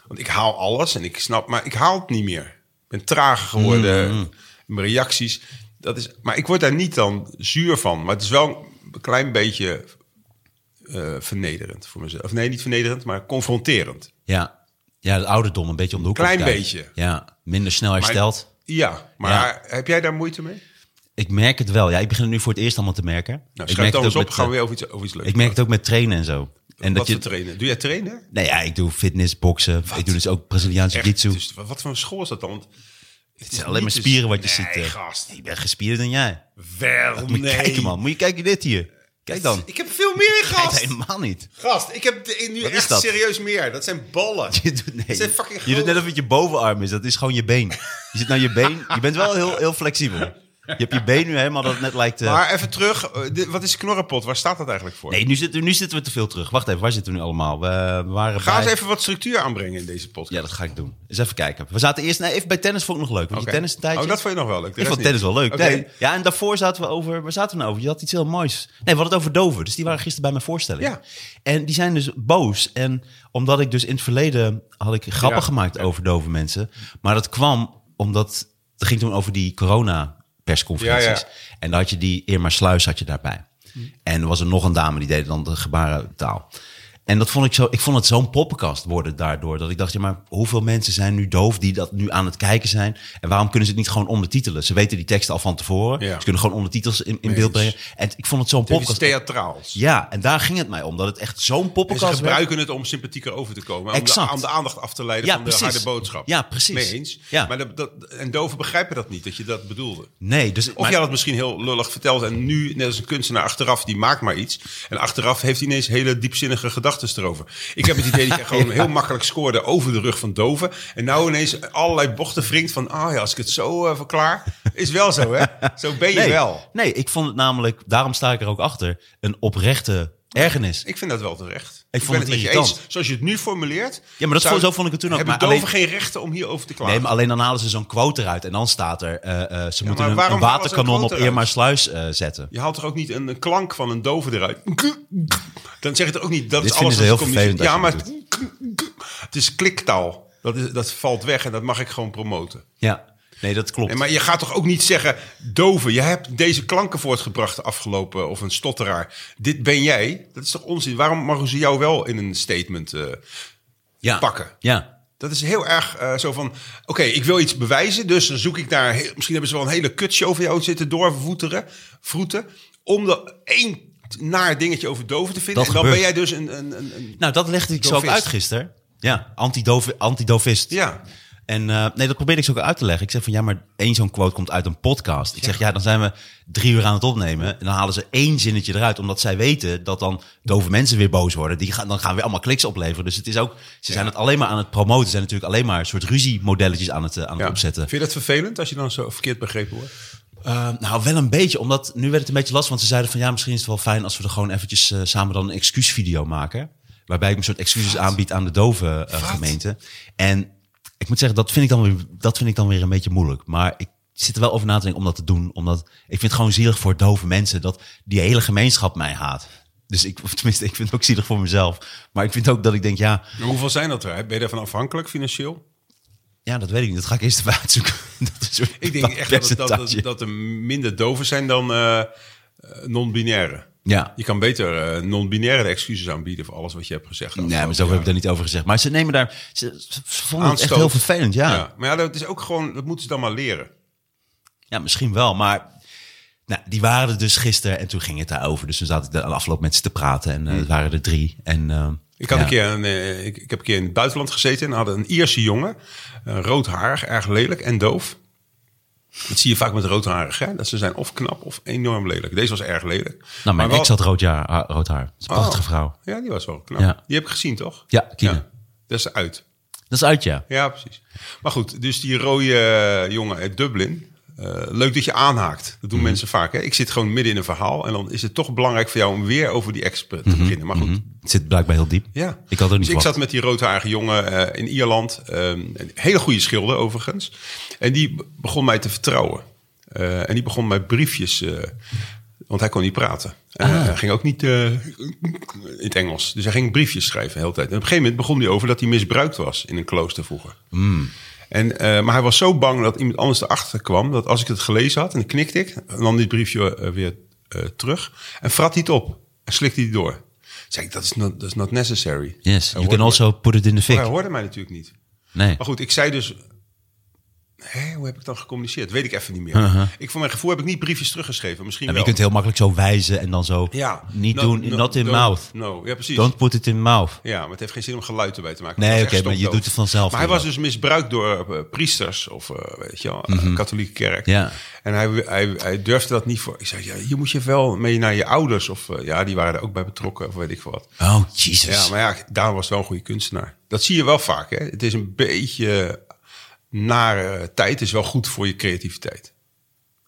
Speaker 3: Want ik haal alles en ik snap, maar ik haal het niet meer. Ik ben trager geworden,
Speaker 2: Mm-hmm.
Speaker 3: in mijn reacties. Dat is, maar ik word daar niet dan zuur van. Maar het is wel een klein beetje eh, vernederend voor mezelf. Of nee, niet vernederend, maar confronterend.
Speaker 2: Ja. Ja, het ouderdom een beetje om de hoek.
Speaker 3: Klein
Speaker 2: komt kijken.
Speaker 3: beetje.
Speaker 2: Ja. Minder snel hersteld.
Speaker 3: Ja, maar heb jij daar moeite mee?
Speaker 2: Ik merk het wel. Ja, ik begin het nu voor het eerst allemaal te merken.
Speaker 3: Nou,
Speaker 2: ik
Speaker 3: schrijf
Speaker 2: merk
Speaker 3: het dan eens
Speaker 2: ook
Speaker 3: op,
Speaker 2: met,
Speaker 3: gaan we
Speaker 2: eh,
Speaker 3: weer over iets, over iets leuks
Speaker 2: Ik merk het ook met trainen en zo. En
Speaker 3: wat
Speaker 2: dat je,
Speaker 3: voor trainen? Doe jij trainen?
Speaker 2: nee, ja, ik doe fitness, boksen. Ik doe dus ook Braziliaanse jiu-jitsu.
Speaker 3: dus wat voor een school is dat dan? Want het
Speaker 2: het
Speaker 3: is
Speaker 2: zijn alleen maar
Speaker 3: niet dus-
Speaker 2: spieren wat je
Speaker 3: nee,
Speaker 2: ziet. eh.
Speaker 3: gast.
Speaker 2: Ik ben gespierder dan jij.
Speaker 3: Wel,
Speaker 2: Moet je
Speaker 3: nee.
Speaker 2: kijken, man. Moet je kijken dit hier. Kijk
Speaker 3: *laughs*
Speaker 2: dan.
Speaker 3: Ik heb veel
Speaker 2: *laughs*
Speaker 3: meer,
Speaker 2: Kijk,
Speaker 3: gast.
Speaker 2: helemaal niet. *laughs*
Speaker 3: Gast, ik heb de- nu
Speaker 2: is
Speaker 3: echt
Speaker 2: dat?
Speaker 3: serieus meer. Dat zijn ballen.
Speaker 2: Je doet, nee,
Speaker 3: Dat zijn fucking
Speaker 2: je doet
Speaker 3: grote-
Speaker 2: net of het je bovenarm is. Dat is gewoon je been. Je zit naar je been. Je bent wel heel, heel flexibel. Je hebt je been nu helemaal dat het net lijkt... eh,
Speaker 3: Maar even terug. eh, dit- wat is knorrenpot? Waar staat dat eigenlijk voor?
Speaker 2: Nee, nu zitten, nu zitten we te veel terug. Wacht even, waar zitten we nu allemaal? We, we waren
Speaker 3: Ga
Speaker 2: bij...
Speaker 3: eens even wat structuur aanbrengen in deze podcast.
Speaker 2: Ja, dat ga ik doen. Eens even kijken. We zaten eerst... Nee, even bij tennis vond ik nog leuk. Want
Speaker 3: Oké.
Speaker 2: je tennis een tijdje...
Speaker 3: Oh, dat vond je nog wel leuk. De
Speaker 2: ik
Speaker 3: rest
Speaker 2: vond tennis
Speaker 3: niet.
Speaker 2: wel leuk.
Speaker 3: Oké.
Speaker 2: Nee. Ja, en daarvoor zaten we over... Waar zaten we nou over? Je had iets heel moois. Nee, we hadden het over Dover. Dus die waren gisteren bij mijn voorstelling.
Speaker 3: Ja.
Speaker 2: En die zijn dus boos. En omdat ik dus in het verleden... had ik grappen
Speaker 3: Ja.
Speaker 2: gemaakt over dove mensen. Maar dat kwam omdat... Het ging toen over die corona persconferenties.
Speaker 3: Ja,
Speaker 2: En daar had je die Irma Sluis had je daarbij.
Speaker 3: Hmm.
Speaker 2: En er was er nog een dame die deed dan de gebarentaal. En dat vond ik zo, ik vond het zo'n poppenkast worden daardoor. Dat ik dacht, ja, maar hoeveel mensen zijn nu doof die dat nu aan het kijken zijn? En waarom kunnen ze het niet gewoon ondertitelen? Ze weten die teksten al van tevoren.
Speaker 3: Ja.
Speaker 2: Ze kunnen gewoon ondertitels in, in
Speaker 3: Eens.
Speaker 2: beeld brengen. En t- ik vond het zo'n
Speaker 3: Het is iets
Speaker 2: poppenkast.
Speaker 3: theatraals.
Speaker 2: Ja, en daar ging het mij om. Dat het echt zo'n
Speaker 3: En ze
Speaker 2: poppenkast werd.
Speaker 3: gebruiken het om sympathieker over te komen. Om
Speaker 2: Exact.
Speaker 3: De, om de aandacht af te leiden
Speaker 2: Ja,
Speaker 3: van de
Speaker 2: precies.
Speaker 3: harde boodschap.
Speaker 2: Ja, precies.
Speaker 3: Mee eens.
Speaker 2: Ja.
Speaker 3: Maar dat, dat, en doven begrijpen dat niet, dat je dat bedoelde.
Speaker 2: Nee, dus...
Speaker 3: Of jij had het misschien heel lullig verteld en nu, net als een kunstenaar achteraf, die maakt maar iets. En achteraf heeft hij ineens hele diepzinnige gedachten erover. Ik heb het
Speaker 2: *laughs*
Speaker 3: idee dat jij gewoon heel makkelijk scoorde over de rug van Doven. En nou ineens allerlei bochten wringt van, ah ja, als ik het zo eh, verklaar. Is wel zo, hè? Zo ben je
Speaker 2: nee,
Speaker 3: wel.
Speaker 2: Nee, ik vond het namelijk, daarom sta ik er ook achter, een oprechte Ergernis.
Speaker 3: Ik vind dat wel terecht.
Speaker 2: Ik vond
Speaker 3: ben
Speaker 2: het
Speaker 3: met je
Speaker 2: irritant.
Speaker 3: eens. Zoals je het nu formuleert.
Speaker 2: Ja, maar dat
Speaker 3: zou-
Speaker 2: vond- zo vond ik het toen ook.
Speaker 3: Hebben
Speaker 2: Maar
Speaker 3: doven
Speaker 2: alleen-
Speaker 3: geen rechten om hierover te klagen?
Speaker 2: Nee, maar alleen dan halen ze zo'n quote eruit en dan staat er... eh, eh, ze moeten een- een,
Speaker 3: waarom halen ze een
Speaker 2: waterkanon op
Speaker 3: quote eruit?
Speaker 2: Eermaarsluis eh zetten.
Speaker 3: Je haalt er ook niet een, een klank van een dove eruit. Dan zeg je er ook niet. Dat
Speaker 2: Dit
Speaker 3: is alles
Speaker 2: vinden ze heel
Speaker 3: wat communiceert. Ja, maar
Speaker 2: vervelend als
Speaker 3: het is kliktaal. Dat, is, dat valt weg en dat mag ik gewoon promoten.
Speaker 2: Ja, nee, dat klopt.
Speaker 3: En maar je gaat toch ook niet zeggen, dove, je hebt deze klanken voortgebracht de afgelopen, of een stotteraar. Dit ben jij. Dat is toch onzin? Waarom mogen ze jou wel in een statement eh,
Speaker 2: ja.
Speaker 3: pakken.
Speaker 2: Ja,
Speaker 3: Dat is heel erg eh, zo van, oké, ik wil iets bewijzen, dus dan zoek ik daar, he- misschien hebben ze wel een hele kutshow van jou zitten doorvoeteren, vroeten, om dat één naar dingetje over doven te vinden.
Speaker 2: Dat
Speaker 3: en dan
Speaker 2: gebeurt.
Speaker 3: ben jij dus een, een, een, een-
Speaker 2: Nou, dat legde ik zo ook
Speaker 3: Dovist.
Speaker 2: uit gisteren. Ja, antidov- antidovist.
Speaker 3: ja,
Speaker 2: En eh, nee, dat probeerde ik ze ook uit te leggen. Ik zeg van ja, maar één zo'n quote komt uit een podcast. Ik zeg ja, dan zijn we drie uur aan het opnemen. En dan halen ze één zinnetje eruit, omdat zij weten dat dan dove mensen weer boos worden. Die gaan, dan gaan weer allemaal kliks opleveren. Dus het is ook, ze zijn het alleen maar aan het promoten. Ze zijn natuurlijk alleen maar een soort ruziemodelletjes aan het, eh, aan het
Speaker 3: ja.
Speaker 2: opzetten.
Speaker 3: Vind je dat vervelend als je dan zo verkeerd begrepen wordt?
Speaker 2: Eh, nou, wel een beetje. Omdat nu werd het een beetje lastig. Want ze zeiden van ja, misschien is het wel fijn als we er gewoon eventjes eh, samen dan een excuusvideo maken. Waarbij ik een soort excuses aanbied aan de dove eh, gemeente. En ik moet zeggen, dat vind ik, dan weer, dat vind ik dan weer een beetje moeilijk. Maar ik zit er wel over na te denken om dat te doen. Omdat ik vind het gewoon zielig voor dove mensen dat die hele gemeenschap mij haat. Dus ik, *laughs* of tenminste, ik vind het ook zielig voor mezelf. Maar ik vind ook dat ik denk, ja,
Speaker 3: Maar hoeveel zijn dat er? Ben je daarvan afhankelijk financieel?
Speaker 2: ja dat weet ik niet. Dat ga ik eerst even uitzoeken. *laughs* Dat is een
Speaker 3: Ik denk echt dat, dat, dat,
Speaker 2: percentage.
Speaker 3: dat er minder doven zijn dan eh, eh, non-binaire.
Speaker 2: ja.
Speaker 3: Je kan beter eh, non-binaire excuses aanbieden voor alles wat je hebt gezegd.
Speaker 2: Nee, maar zo heb ik daar niet over gezegd. Maar ze nemen daar... Ze, ze vonden het echt
Speaker 3: Aanstoot.
Speaker 2: heel vervelend, ja. ja.
Speaker 3: Ja, maar ja, dat is ook gewoon, dat moeten ze dan maar leren.
Speaker 2: misschien wel, maar... Nou, die waren er dus gisteren en toen ging het daarover. Dus toen zat ik de afloop met ze te praten en eh, het waren er drie. En, eh,
Speaker 3: Hmm. Ik, had
Speaker 2: ja.
Speaker 3: een keer een, eh, ik, ik heb een keer in het buitenland gezeten en hadden een Ierse jongen, eh, roodharig, erg lelijk en doof. Dat zie je vaak met roodharig, hè? dat ze zijn of knap of enorm lelijk. Deze was erg lelijk.
Speaker 2: Nou, mijn
Speaker 3: Maar wel-
Speaker 2: ex had rood, jaar, ah, rood haar. Dat is een prachtige
Speaker 3: Oh.
Speaker 2: vrouw.
Speaker 3: Ja, die was wel knap.
Speaker 2: Ja.
Speaker 3: Die heb ik gezien, toch?
Speaker 2: Ja, Kine.
Speaker 3: Dat is uit.
Speaker 2: Dat is uit, ja.
Speaker 3: Ja, precies. Maar goed, dus die rode eh, jongen uit Dublin. eh, leuk dat je aanhaakt. Dat doen
Speaker 2: Mhm.
Speaker 3: mensen vaak. Hè? Ik zit gewoon midden in een verhaal. En dan is het toch belangrijk voor jou om weer over die ex te
Speaker 2: Mhm.
Speaker 3: beginnen. Maar goed,
Speaker 2: Het zit blijkbaar heel diep.
Speaker 3: ja.
Speaker 2: Ik had ook niet
Speaker 3: dus ik
Speaker 2: verwacht.
Speaker 3: zat met die roodharige jongen eh, in Ierland. ehm, een hele goede schilder overigens. En die be- begon mij te vertrouwen. Eh, en die begon mij briefjes... eh, want hij kon niet praten. En
Speaker 2: Ah.
Speaker 3: hij ging ook niet eh, in het Engels. Dus hij ging briefjes schrijven de hele tijd. En op een gegeven moment begon hij over dat hij misbruikt was in een klooster vroeger. En, eh, maar hij was zo bang dat iemand anders erachter kwam... dat als ik het gelezen had, en dan knikte ik... nam dit briefje eh, weer eh, terug en frat hij het op. En slikte hij het door. Zeg ik, dat is not, dat is not necessary.
Speaker 2: Yes,
Speaker 3: Hij
Speaker 2: you
Speaker 3: hoorde
Speaker 2: can also put it in the
Speaker 3: mij- Hij
Speaker 2: fik.
Speaker 3: hoorde mij natuurlijk niet.
Speaker 2: Nee.
Speaker 3: Maar goed, ik zei dus... Hé, hoe heb ik dan gecommuniceerd? Weet ik even niet meer. Ik, voor mijn gevoel heb ik niet briefjes teruggeschreven. Misschien
Speaker 2: En Uh-huh. Nou, je
Speaker 3: wel.
Speaker 2: kunt heel makkelijk zo wijzen en dan zo
Speaker 3: ja.
Speaker 2: niet
Speaker 3: No-
Speaker 2: doen.
Speaker 3: no-
Speaker 2: not in
Speaker 3: don't-
Speaker 2: mouth.
Speaker 3: No, ja, precies.
Speaker 2: Don't put it in mouth.
Speaker 3: Ja, maar het heeft geen zin om geluid erbij te maken.
Speaker 2: Nee,
Speaker 3: Het was
Speaker 2: oké,
Speaker 3: echt
Speaker 2: maar je
Speaker 3: stokdoof.
Speaker 2: doet het vanzelf
Speaker 3: Maar hij
Speaker 2: dan
Speaker 3: was dus misbruikt door eh, priesters of, eh, weet je wel, eh, katholieke kerk.
Speaker 2: Mhm. Ja.
Speaker 3: En hij, hij, hij durfde dat niet voor. Ik zei, ja, hier moet je wel mee naar je ouders. Of eh, ja, die waren er ook bij betrokken, of weet ik veel wat.
Speaker 2: Oh, Jesus.
Speaker 3: Ja, maar ja, daar was het wel een goede kunstenaar. Dat zie je wel vaak, hè. Het is een beetje nare tijd. Het is wel goed voor je creativiteit.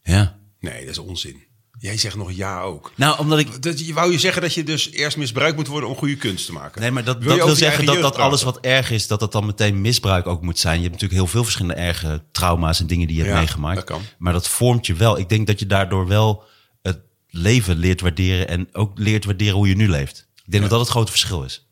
Speaker 2: ja.
Speaker 3: Nee, dat is onzin. Jij zegt nog ja ook.
Speaker 2: Nou, omdat ik
Speaker 3: Dat, je wou je zeggen dat je dus eerst misbruikt moet worden om goede kunst te maken?
Speaker 2: Nee, maar dat
Speaker 3: Wil
Speaker 2: wil,
Speaker 3: je
Speaker 2: dat
Speaker 3: over
Speaker 2: wil
Speaker 3: je
Speaker 2: zeggen
Speaker 3: eigen
Speaker 2: dat,
Speaker 3: jeugd
Speaker 2: dat alles
Speaker 3: praten?
Speaker 2: wat erg is, dat dat dan meteen misbruik ook moet zijn. Je hebt natuurlijk heel veel verschillende erge trauma's en dingen die je hebt
Speaker 3: Ja,
Speaker 2: meegemaakt.
Speaker 3: dat kan.
Speaker 2: Maar dat vormt je wel. Ik denk dat je daardoor wel het leven leert waarderen en ook leert waarderen hoe je nu leeft. Ik denk dat dat het grote verschil is.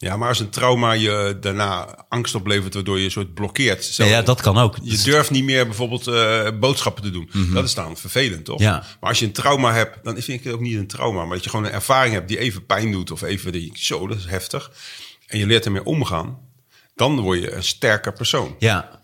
Speaker 3: Ja, maar als een trauma je daarna angst oplevert, waardoor je een soort blokkeert. Zo,
Speaker 2: Nee, ja, dat kan ook. Dus-
Speaker 3: Je durft niet meer bijvoorbeeld eh, boodschappen te doen. Dat is dan vervelend, toch?
Speaker 2: Mhm. Ja.
Speaker 3: Maar als je een trauma hebt, dan vind ik het ook niet een trauma. Maar dat je gewoon een ervaring hebt die even pijn doet of even die, zo, dat is heftig. En je leert ermee omgaan. Dan word je een sterker persoon.
Speaker 2: Ja.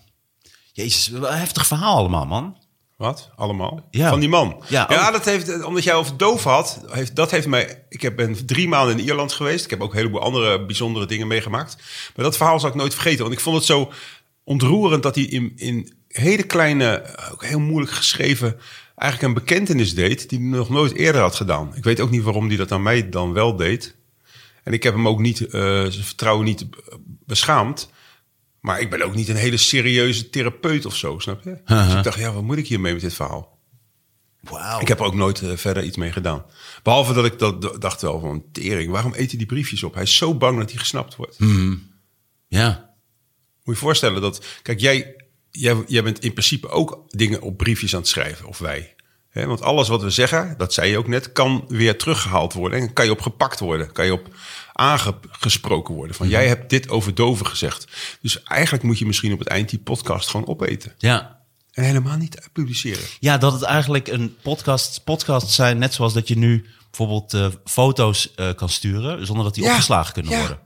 Speaker 2: Jezus, wel een heftig verhaal allemaal, man.
Speaker 3: Wat? Allemaal?
Speaker 2: Ja.
Speaker 3: Van die man.
Speaker 2: Ja,
Speaker 3: Ja,
Speaker 2: ook.
Speaker 3: dat heeft, omdat jij over doof had, heeft, dat heeft mij. Ik heb- ben drie maanden in Ierland geweest. Ik heb ook een heleboel andere bijzondere dingen meegemaakt. Maar dat verhaal zal ik nooit vergeten. Want ik vond het zo ontroerend dat hij in, in hele kleine, ook heel moeilijk geschreven, eigenlijk een bekentenis deed die hij nog nooit eerder had gedaan. Ik weet ook niet waarom hij dat aan mij dan wel deed. En ik heb hem ook niet, eh, zijn vertrouwen niet eh, beschaamd. Maar ik ben ook niet een hele serieuze therapeut of zo, snap je? Dus ik dacht, ja, wat moet ik hiermee met dit verhaal?
Speaker 2: Wauw.
Speaker 3: Ik heb er ook nooit eh, verder iets mee gedaan. Behalve dat ik dat d- dacht wel van, tering, waarom eet hij die briefjes op? Hij is zo bang dat hij gesnapt wordt.
Speaker 2: Ja.
Speaker 3: Moet je je voorstellen dat... Kijk, jij, jij, jij bent in principe ook dingen op briefjes aan het schrijven, of wij. Hè, want alles wat we zeggen, dat zei je ook net, kan weer teruggehaald worden. En kan je op gepakt worden. Kan je op aangesproken worden.
Speaker 2: Mhm.
Speaker 3: Van, jij hebt dit over Dover gezegd. Dus eigenlijk moet je misschien op het eind die podcast gewoon opeten.
Speaker 2: Ja.
Speaker 3: En helemaal niet publiceren.
Speaker 2: Ja, dat het eigenlijk een podcast, podcast zijn, net zoals dat je nu bijvoorbeeld eh, foto's eh, kan sturen, zonder dat die
Speaker 3: Ja,
Speaker 2: opgeslagen kunnen
Speaker 3: ja.
Speaker 2: worden.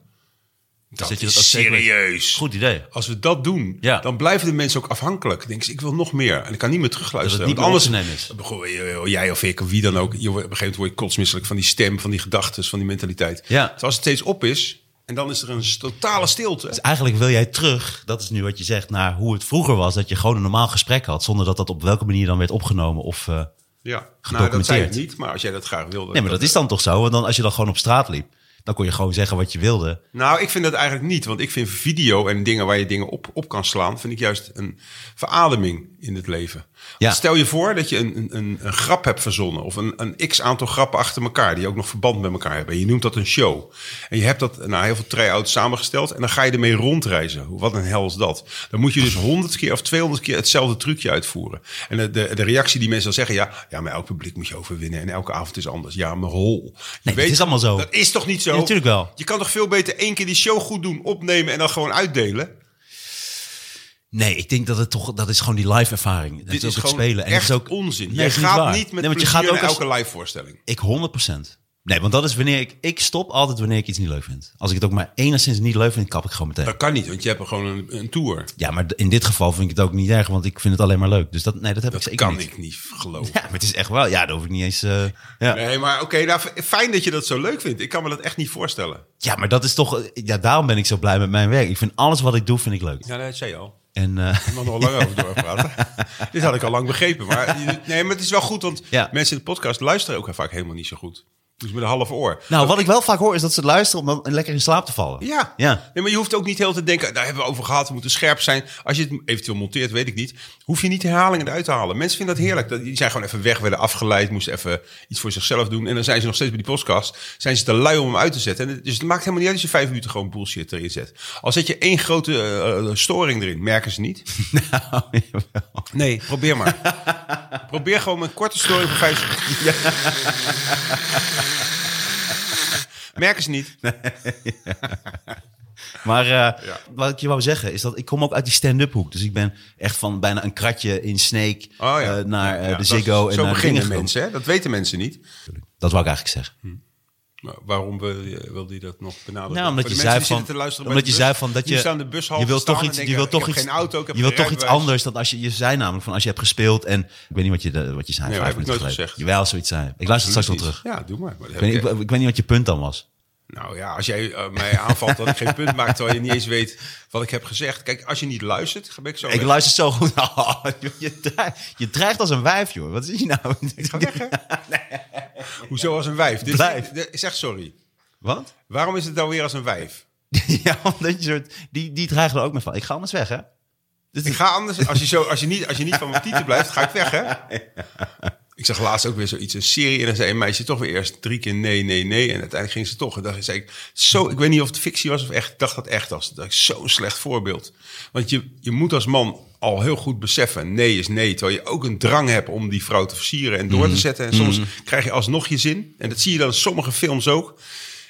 Speaker 3: Dat,
Speaker 2: je
Speaker 3: is
Speaker 2: dat ook zeker weet.
Speaker 3: serieus.
Speaker 2: Goed idee.
Speaker 3: Als we dat doen,
Speaker 2: Ja.
Speaker 3: dan blijven de mensen ook afhankelijk. Dan denken ze, ik wil nog meer. En ik kan niet meer terugluisteren.
Speaker 2: Dat het
Speaker 3: Want
Speaker 2: niet meer
Speaker 3: anders,
Speaker 2: op te
Speaker 3: Goh, Jij of ik, of wie dan ook. Je wordt, op een gegeven moment word je kotsmisselijk van die stem, van die gedachten, van die mentaliteit.
Speaker 2: Ja.
Speaker 3: Dus als het steeds op is, en dan is er een totale stilte.
Speaker 2: Dus eigenlijk wil jij terug, dat is nu wat je zegt, naar hoe het vroeger was, dat je gewoon een normaal gesprek had, zonder dat dat op welke manier dan werd opgenomen. Of, eh,
Speaker 3: Ja, nou, dat zei
Speaker 2: Gedocumenteerd.
Speaker 3: ik niet, maar als jij dat graag wilde.
Speaker 2: Nee, maar dat is dan toch zo? Want dan, als je dan gewoon op straat liep, dan kon je gewoon zeggen wat je wilde.
Speaker 3: Nou, ik vind dat eigenlijk niet. Want ik vind video en dingen waar je dingen op, op kan slaan... vind ik juist een verademing in het leven.
Speaker 2: Ja.
Speaker 3: Want Stel je voor dat je een, een, een, een grap hebt verzonnen... of een, een x-aantal grappen achter elkaar... die ook nog verband met elkaar hebben. En je noemt dat een show. En je hebt dat na heel veel try-outs samengesteld... en dan ga je ermee rondreizen. Hoe- Wat een hel is dat? Dan moet je dus 100 keer of 200 keer hetzelfde trucje uitvoeren. En de, de, de reactie die mensen dan zeggen... Ja, ja, maar elk publiek moet je overwinnen... en elke avond is anders. Ja, maar hol. Je
Speaker 2: dat is allemaal zo.
Speaker 3: Dat is toch niet zo?
Speaker 2: Ja, natuurlijk wel.
Speaker 3: Je kan toch veel beter één keer die show goed doen, opnemen en dan gewoon uitdelen?
Speaker 2: Nee, ik denk dat het toch, dat is gewoon die live ervaring. Dat ook
Speaker 3: Dit is
Speaker 2: het
Speaker 3: gewoon
Speaker 2: spelen. En
Speaker 3: echt
Speaker 2: dat is ook,
Speaker 3: onzin.
Speaker 2: Nee,
Speaker 3: je
Speaker 2: dat is
Speaker 3: gaat
Speaker 2: waar.
Speaker 3: niet met
Speaker 2: nee, want je gaat ook
Speaker 3: naar
Speaker 2: als-
Speaker 3: elke live voorstelling.
Speaker 2: Ik 100%. Nee, want dat is wanneer ik... Ik stop altijd wanneer ik iets niet leuk vind. Als ik het ook maar enigszins niet leuk vind, kap ik gewoon meteen.
Speaker 3: Dat kan niet, want je hebt er gewoon een, een tour.
Speaker 2: Ja, maar d- in dit geval vind ik het ook niet erg, want ik vind het alleen maar leuk. Dus dat, nee, dat heb ik
Speaker 3: Dat
Speaker 2: zeker
Speaker 3: kan
Speaker 2: niet.
Speaker 3: ik niet geloven.
Speaker 2: Ja, maar het is echt wel... Ja, dat hoef ik niet eens... eh, ja.
Speaker 3: Nee, maar oké, nou, f- fijn dat je dat zo leuk vindt. Ik kan me dat echt niet voorstellen.
Speaker 2: ja, maar dat is toch... eh, Ja, daarom ben ik zo blij met mijn werk. Ik vind alles wat ik doe, vind ik leuk.
Speaker 3: Ja, dat zei je al.
Speaker 2: En eh, *laughs*
Speaker 3: Ik mag nog wel lang over doorpraten. Dit had ik al lang begrepen. Maar, je- nee, maar het is wel goed, want
Speaker 2: Ja.
Speaker 3: mensen in de podcast luisteren ook vaak helemaal niet zo goed. Dus met een half oor.
Speaker 2: nou, wat ik wel vaak hoor, is dat ze het luisteren om dan lekker in slaap te vallen.
Speaker 3: Ja.
Speaker 2: Ja.
Speaker 3: Nee, maar je hoeft ook niet heel te denken, daar hebben we over gehad, we moeten scherp zijn. Als je het eventueel monteert, weet ik niet, hoef je niet de herhalingen eruit te halen. Mensen vinden dat heerlijk. Dat- Die zijn gewoon even weg, werden afgeleid, moesten even iets voor zichzelf doen. En dan zijn ze nog steeds bij die podcast, zijn ze te lui om hem uit te zetten. En het- dus het maakt helemaal niet uit als je vijf minuten gewoon bullshit erin zet. Al zet je één grote eh, eh, storing erin, merken ze niet.
Speaker 2: *laughs* Nou, jawel.
Speaker 3: Nee, probeer maar. *laughs* probeer gewoon een korte story van vijf
Speaker 2: *laughs*
Speaker 3: seconden. Merken ze niet.
Speaker 2: Maar eh,
Speaker 3: Ja.
Speaker 2: wat ik je wou zeggen is dat ik kom ook uit die stand-up hoek. Dus ik ben echt van bijna een kratje in Snake
Speaker 3: Oh ja.
Speaker 2: eh, naar eh,
Speaker 3: Ja,
Speaker 2: de
Speaker 3: dat
Speaker 2: Ziggo.
Speaker 3: is-
Speaker 2: en
Speaker 3: zo
Speaker 2: naar dingen
Speaker 3: beginnen
Speaker 2: gekomen.
Speaker 3: mensen, hè? dat weten mensen niet.
Speaker 2: Dat wou ik eigenlijk zeggen.
Speaker 3: Maar waarom wil je, wilde je dat nog benadrukken?
Speaker 2: Nou, omdat
Speaker 3: Voor
Speaker 2: je
Speaker 3: de mensen
Speaker 2: zei
Speaker 3: die
Speaker 2: van,
Speaker 3: zitten te luisteren bij
Speaker 2: omdat
Speaker 3: de
Speaker 2: je
Speaker 3: bus,
Speaker 2: zei van dat
Speaker 3: die
Speaker 2: je,
Speaker 3: staan de bushalte
Speaker 2: je wilt
Speaker 3: staan
Speaker 2: toch
Speaker 3: en
Speaker 2: iets, je
Speaker 3: denken,
Speaker 2: wilt
Speaker 3: ik
Speaker 2: toch
Speaker 3: heb
Speaker 2: iets,
Speaker 3: geen auto, ik heb
Speaker 2: je wilt
Speaker 3: geen
Speaker 2: toch iets
Speaker 3: rijbewijs.
Speaker 2: anders dan als je, je zei namelijk van als je hebt gespeeld en ik weet niet wat je de- wat je zei.
Speaker 3: Nee,
Speaker 2: vijf
Speaker 3: heb ik
Speaker 2: minuten
Speaker 3: nooit
Speaker 2: geleden.
Speaker 3: gezegd.
Speaker 2: Jawel, zoiets zei. Ik luister het straks wel terug.
Speaker 3: Ja, doe maar. Maar dat
Speaker 2: Ik weet,
Speaker 3: heb
Speaker 2: niet-
Speaker 3: ik-
Speaker 2: ik, ik weet niet wat je punt dan was.
Speaker 3: nou ja, als jij eh, mij aanvalt dat ik geen punt maak, terwijl je niet eens weet wat ik heb gezegd. Kijk, als je niet luistert, ga ik zo
Speaker 2: Ik
Speaker 3: weg.
Speaker 2: luister zo goed. *laughs* Oh, je, je, dreigt, je dreigt als een wijf, joh. Wat is je nou?
Speaker 3: Ga weg, hè? Hoezo als een wijf? Dit,
Speaker 2: Blijf.
Speaker 3: dit- zeg sorry.
Speaker 2: *laughs* Wat? *laughs*
Speaker 3: Waarom is het dan weer als een wijf?
Speaker 2: Ja, omdat je soort, die, die dreigt er ook mee van. Ik ga anders weg, hè? Dus
Speaker 3: Ik ga anders. Als je, zo, als je, niet, als je niet van mijn titel blijft, ga ik weg, hè? Ik zag laatst ook weer zoiets, een serie. En dan zei een meisje toch weer eerst drie keer nee, nee, nee. En uiteindelijk ging ze toch. En dacht, zei ik, zo, ik weet niet of het fictie was of echt. Ik dacht dat echt was. Dat is zo'n slecht voorbeeld. Want je, je moet als man al heel goed beseffen, nee is nee. Terwijl je ook een drang hebt om die vrouw te versieren en door
Speaker 2: Mhm.
Speaker 3: te zetten. En soms krijg je alsnog je zin. En dat zie je dan in sommige films ook.